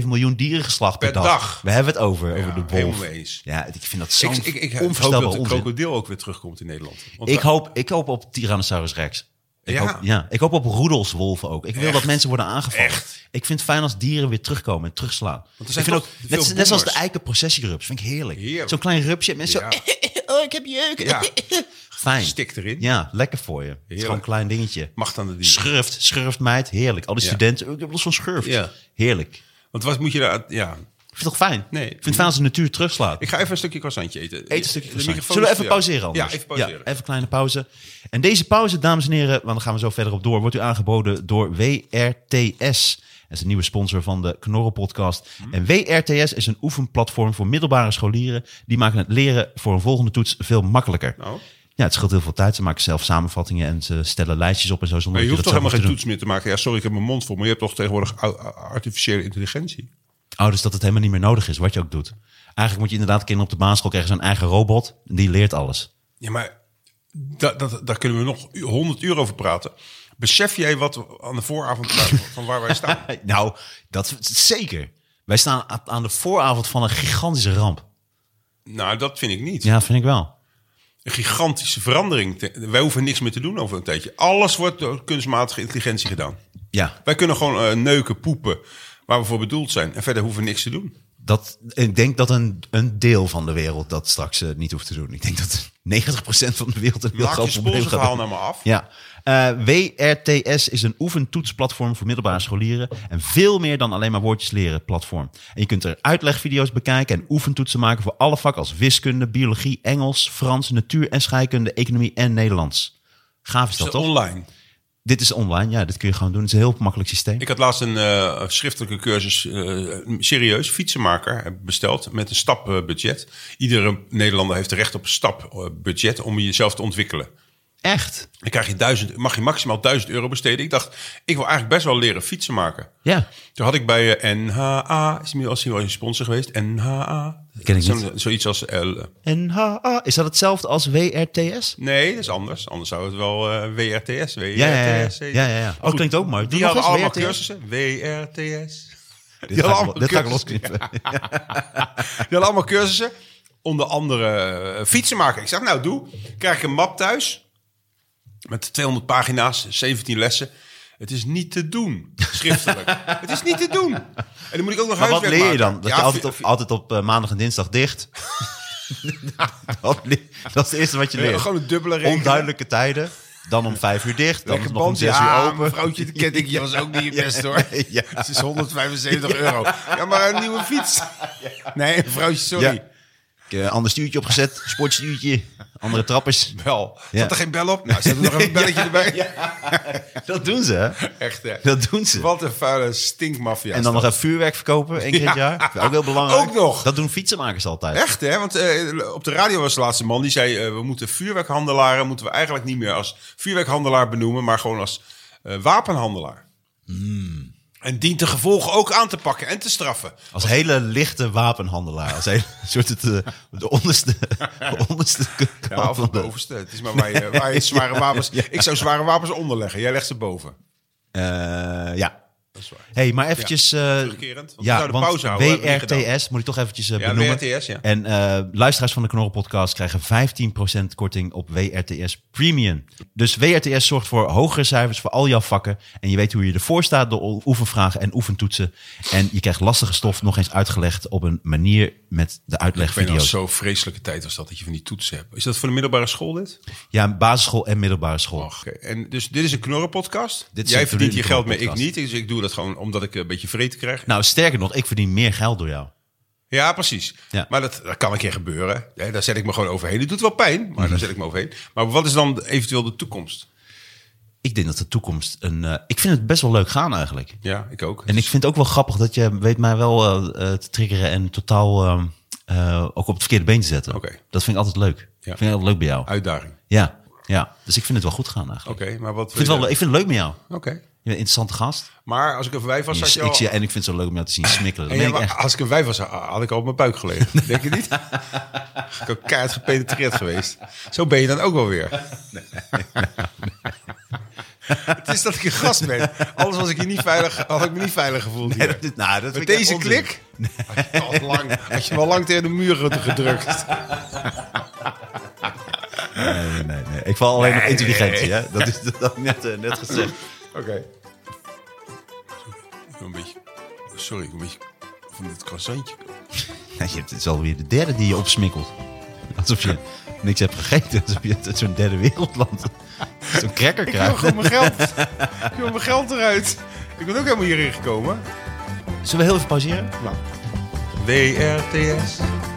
Speaker 2: 1,7 miljoen dieren geslacht per,
Speaker 3: Per dag.
Speaker 2: We hebben het over, over de wolf.
Speaker 3: helemaal mee eens.
Speaker 2: Ja, ik vind dat
Speaker 3: Ik,
Speaker 2: zo'n
Speaker 3: ik, ik hoop
Speaker 2: onvoorstelbaar
Speaker 3: dat de
Speaker 2: onzin.
Speaker 3: krokodil ook weer terugkomt in Nederland. Want
Speaker 2: Ik
Speaker 3: we-
Speaker 2: hoop, ik hoop op Tyrannosaurus Rex. Ik
Speaker 3: Ja.
Speaker 2: Hoop, ja. Ik hoop op roedelswolven ook. Ik wil
Speaker 3: Echt.
Speaker 2: dat mensen worden aangevallen.
Speaker 3: Echt.
Speaker 2: Ik vind het fijn als dieren weer terugkomen en terugslaan.
Speaker 3: er
Speaker 2: ik
Speaker 3: zijn
Speaker 2: vind ook,
Speaker 3: toch
Speaker 2: net,
Speaker 3: veel
Speaker 2: net zoals de
Speaker 3: boomers.
Speaker 2: eikenprocessierups. Vind ik heerlijk.
Speaker 3: Heerlijk.
Speaker 2: Zo'n klein rupsje. Mensen
Speaker 3: Ja.
Speaker 2: zo, oh, ik heb jeuk.
Speaker 3: Ja.
Speaker 2: *laughs* Fijn.
Speaker 3: *laughs* Stik erin.
Speaker 2: Ja, lekker voor je. Het is gewoon een klein dingetje.
Speaker 3: Macht aan de dieren.
Speaker 2: Schurft, schurft meid. Heerlijk. Al die
Speaker 3: Ja.
Speaker 2: studenten, oh, ik heb los van schurft.
Speaker 3: Ja.
Speaker 2: Heerlijk.
Speaker 3: Want wat moet je daar... Ja.
Speaker 2: Ik vind het toch fijn?
Speaker 3: Nee.
Speaker 2: Ik vind het fijn als de natuur terugslaat.
Speaker 3: Ik ga even een stukje croissantje eten.
Speaker 2: Eet een stukje
Speaker 3: De
Speaker 2: croissant.
Speaker 3: microfoon
Speaker 2: Zullen we
Speaker 3: is
Speaker 2: even
Speaker 3: voor jou.
Speaker 2: pauzeren anders?
Speaker 3: Ja, even pauzeren.
Speaker 2: even een kleine pauze. En deze pauze, dames en heren, want daar gaan we zo verder op door, wordt u aangeboden door WRTS. Dat is een nieuwe sponsor van de Knorren podcast.
Speaker 3: Mhm.
Speaker 2: En WRTS is een oefenplatform voor middelbare scholieren. Die maken het leren voor een volgende toets veel makkelijker.
Speaker 3: Nou,
Speaker 2: Ja, het scheelt heel veel tijd. Ze maken zelf samenvattingen en ze stellen lijstjes op en zo. Zonder
Speaker 3: maar je
Speaker 2: dat
Speaker 3: hoeft toch
Speaker 2: dat
Speaker 3: helemaal
Speaker 2: zelf
Speaker 3: geen
Speaker 2: hoeft
Speaker 3: toets meer te maken. Ja, sorry, ik heb mijn mond vol. Maar je hebt toch tegenwoordig au- au- artificiële intelligentie?
Speaker 2: te doen. Oh, dus dat het helemaal niet meer nodig is, wat je ook doet. Eigenlijk moet je inderdaad kinderen op de basisschool krijgen zo'n eigen robot. Die leert alles.
Speaker 3: Ja, maar da, dat daar kunnen we nog u- 100 uur over praten. Besef jij wat we aan de vooravond van- van waar
Speaker 2: *laughs*
Speaker 3: wij staan?
Speaker 2: Nou, dat zeker. Wij staan a- aan de vooravond van een gigantische ramp.
Speaker 3: Nou, dat vind ik niet.
Speaker 2: Ja, vind ik wel.
Speaker 3: Een gigantische verandering. Te- Wij hoeven niks meer te doen over een tijdje. Alles wordt door kunstmatige intelligentie gedaan.
Speaker 2: Ja,
Speaker 3: Wij kunnen gewoon eh, neuken, poepen, waar we voor bedoeld zijn. En verder hoeven we niks te doen.
Speaker 2: dat, ik denk dat een, een deel van de wereld dat straks eh, niet hoeft te doen. Ik denk dat 90% van de wereld een heel
Speaker 3: Maak je
Speaker 2: groot probleem gaat
Speaker 3: sponsorverhaal
Speaker 2: hebben.
Speaker 3: naar me af.
Speaker 2: Ja. Eh, WRTS is een oefentoetsplatform voor middelbare scholieren. En veel meer dan alleen maar woordjes leren platform. En je kunt er uitlegvideo's bekijken en oefentoetsen maken voor alle vakken als wiskunde, biologie, Engels, Frans, natuur en scheikunde, economie en Nederlands. Gaaf is
Speaker 3: Is
Speaker 2: dat
Speaker 3: dat
Speaker 2: toch?
Speaker 3: online?
Speaker 2: Dit is online, ja, dit kun je gewoon doen. Het is een heel makkelijk systeem.
Speaker 3: Ik had laatst een eh, schriftelijke cursus, eh, serieus, fietsenmaker eh, besteld met een stapbudget. Iedere Nederlander heeft recht op een stapbudget om jezelf te ontwikkelen.
Speaker 2: Echt?
Speaker 3: Dan krijg je duizend, mag je maximaal 1000 euro besteden. Ik dacht, ik wil eigenlijk best wel leren fietsen maken.
Speaker 2: Ja.
Speaker 3: Toen had ik bij eh, NHA, is inmiddels wel een sponsor geweest, NHA.
Speaker 2: Ken ik
Speaker 3: Zo'n-
Speaker 2: niet.
Speaker 3: Zoiets als, eh,
Speaker 2: NHA. Is dat hetzelfde als WRTS?
Speaker 3: nee, dat is anders. Anders zou het wel eh, WRTS, WRTS.
Speaker 2: Ja, ja, ja.
Speaker 3: eh,
Speaker 2: ja, ja, ja. Oh,
Speaker 3: goed.
Speaker 2: klinkt ook mooi. Doe
Speaker 3: Die
Speaker 2: nog
Speaker 3: hadden
Speaker 2: eens
Speaker 3: allemaal
Speaker 2: WRTS.
Speaker 3: cursussen. WRTS.
Speaker 2: Dit ga ik
Speaker 3: allemaal
Speaker 2: lo- Dit ga ik
Speaker 3: cursussen.
Speaker 2: losknippen.
Speaker 3: Die hadden allemaal cursussen. Onder andere eh, fietsen maken. Ik zeg, nou doe. Krijg ik een map thuis. Met 200 pagina's, 17 lessen. Het is niet te doen, schriftelijk.
Speaker 2: *laughs*
Speaker 3: het is niet te doen. En dan moet ik ook nog
Speaker 2: Maar wat
Speaker 3: huiswerk
Speaker 2: leer je dan?
Speaker 3: maken.
Speaker 2: Dat
Speaker 3: Ja,
Speaker 2: je altijd
Speaker 3: fi-
Speaker 2: op, altijd op eh, maandag en dinsdag dicht. *laughs* Nou, dat, le- dat is het eerste wat je
Speaker 3: Ja,
Speaker 2: leert.
Speaker 3: gewoon een dubbele rekening.
Speaker 2: Onduidelijke tijden. Dan om vijf uur dicht. Dan
Speaker 3: Lekker
Speaker 2: nog om
Speaker 3: band.
Speaker 2: zes
Speaker 3: ja,
Speaker 2: uur open.
Speaker 3: mevrouwtje,
Speaker 2: *laughs*
Speaker 3: de kettingje was ook niet je best hoor. Dus
Speaker 2: Ja.
Speaker 3: Het is 175 euro. Ja, maar een nieuwe fiets. Nee, vrouwtje, sorry.
Speaker 2: Ja. Ik, eh, ander stuurtje opgezet. Sportstuurtje. Andere trappers.
Speaker 3: Bel. Zat
Speaker 2: Ja.
Speaker 3: er geen bel op? Nou, zet er nog
Speaker 2: *laughs*
Speaker 3: even een belletje erbij.
Speaker 2: Dat doen ze, hè?
Speaker 3: Echt hè.
Speaker 2: Dat doen ze.
Speaker 3: Wat een vuile stinkmafia.
Speaker 2: En dan nog even vuurwerk verkopen, één keer het
Speaker 3: Ja.
Speaker 2: jaar. Ook heel belangrijk.
Speaker 3: Ook nog.
Speaker 2: Dat doen fietsenmakers altijd.
Speaker 3: Echt, hè? Want eh, op de radio was de laatste man die zei... eh, we moeten vuurwerkhandelaren moeten we eigenlijk niet meer als vuurwerkhandelaar benoemen... maar gewoon als eh, wapenhandelaar.
Speaker 2: Hmm.
Speaker 3: En dient de gevolgen ook aan te pakken en te straffen.
Speaker 2: Als hele lichte wapenhandelaar. Als hele *laughs* soort het, eh, de onderste,
Speaker 3: *laughs*
Speaker 2: de onderste kant
Speaker 3: Ja, of
Speaker 2: van
Speaker 3: het
Speaker 2: de-
Speaker 3: bovenste. Het is maar waar je, waar je
Speaker 2: *laughs*
Speaker 3: zware wapens... Ik zou zware wapens onderleggen. Jij legt ze boven.
Speaker 2: Eh, ja.
Speaker 3: Dat is waar.
Speaker 2: hey, maar eventjes... eh,
Speaker 3: terugkerend, want we zouden pauze houden, hebben we niet
Speaker 2: WRTS moet ik toch eventjes eh,
Speaker 3: Ja,
Speaker 2: benoemen.
Speaker 3: WRTS, ja.
Speaker 2: En eh, luisteraars van de Knorren podcast krijgen 15% korting op WRTS Premium. Dus WRTS zorgt voor hogere cijfers voor al jouw vakken. En je weet hoe je ervoor staat door oefenvragen en oefentoetsen. En je krijgt lastige stof nog eens uitgelegd op een manier met de
Speaker 3: Ik weet nog,
Speaker 2: uitlegvideo's.
Speaker 3: zo'n vreselijke tijd was dat, dat je van die toetsen hebt. Is dat voor de middelbare school dit?
Speaker 2: Ja, basisschool en middelbare school.
Speaker 3: Och, oké. En dus dit is een knorrenpodcast.
Speaker 2: Dit is
Speaker 3: Jij
Speaker 2: een
Speaker 3: verdient je
Speaker 2: verdient
Speaker 3: geld mee, ik niet.
Speaker 2: knorrenpodcast.
Speaker 3: Dus ik doe dat gewoon omdat ik een beetje vreten krijg.
Speaker 2: Nou, sterker nog, ik verdien meer geld door jou.
Speaker 3: Ja, precies.
Speaker 2: Ja.
Speaker 3: Maar dat, dat kan een keer gebeuren. Hè, daar zet ik me gewoon overheen. Het doet wel pijn,
Speaker 2: Mhm.
Speaker 3: maar daar zet ik me overheen. Maar wat is dan eventueel de toekomst?
Speaker 2: Ik denk dat de toekomst een... eh, ik vind het best wel leuk gaan eigenlijk.
Speaker 3: Ja, ik ook.
Speaker 2: En ik vind het ook wel grappig dat je weet mij wel eh, eh, te triggeren en totaal eh, eh, ook op het verkeerde been te zetten.
Speaker 3: Oké.
Speaker 2: Dat vind ik altijd leuk. Vind ik altijd leuk bij jou.
Speaker 3: Uitdaging.
Speaker 2: Ja, ja. Dus ik vind het wel goed gaan eigenlijk.
Speaker 3: Oké, maar wat
Speaker 2: Ik, vind het
Speaker 3: wil je-
Speaker 2: wel, ik vind het leuk met jou. Je
Speaker 3: Oké.
Speaker 2: bent een interessante gast.
Speaker 3: Maar als ik een wijf was,
Speaker 2: En,
Speaker 3: had
Speaker 2: je,
Speaker 3: je al...
Speaker 2: ik zie, en ik vind het zo leuk om jou te zien smikkelen.
Speaker 3: En
Speaker 2: Dat meen
Speaker 3: ja,
Speaker 2: ik
Speaker 3: maar *laughs*
Speaker 2: echt.
Speaker 3: als ik een wijf was, had ik al op mijn buik *laughs* gelegen. Denk je niet? ik ook keihard gepenetreerd geweest. Zo ben je dan ook wel weer. *laughs* Het is dat ik een gast ben. Anders was ik hier niet veilig, had ik me niet veilig gevoeld. hier.
Speaker 2: dat is- *laughs* nou, dat
Speaker 3: Met
Speaker 2: vind ik echt
Speaker 3: deze
Speaker 2: onzin.
Speaker 3: klik had, je al lang, had je wel lang tegen de muur gedrukt.
Speaker 2: Nee, nee, nee. Ik val alleen op intelligentie. Hè? Dat is *laughs* dat had ik net, eh, net gezegd.
Speaker 3: Oké. Een beetje, sorry, ik een beetje van dit croissantje.
Speaker 2: Nee, Nou, je hebt- het is alweer de derde die je opsmikkelt. Alsof je niks hebt gegeten. Alsof je uit zo'n derde wereldland zo'n cracker
Speaker 3: Ik wil
Speaker 2: krijgt.
Speaker 3: gewoon mijn geld. Ik wil mijn geld eruit. Ik ben ook helemaal hierin gekomen.
Speaker 2: Zullen we heel even pauzeren?
Speaker 3: Nou. WRTS.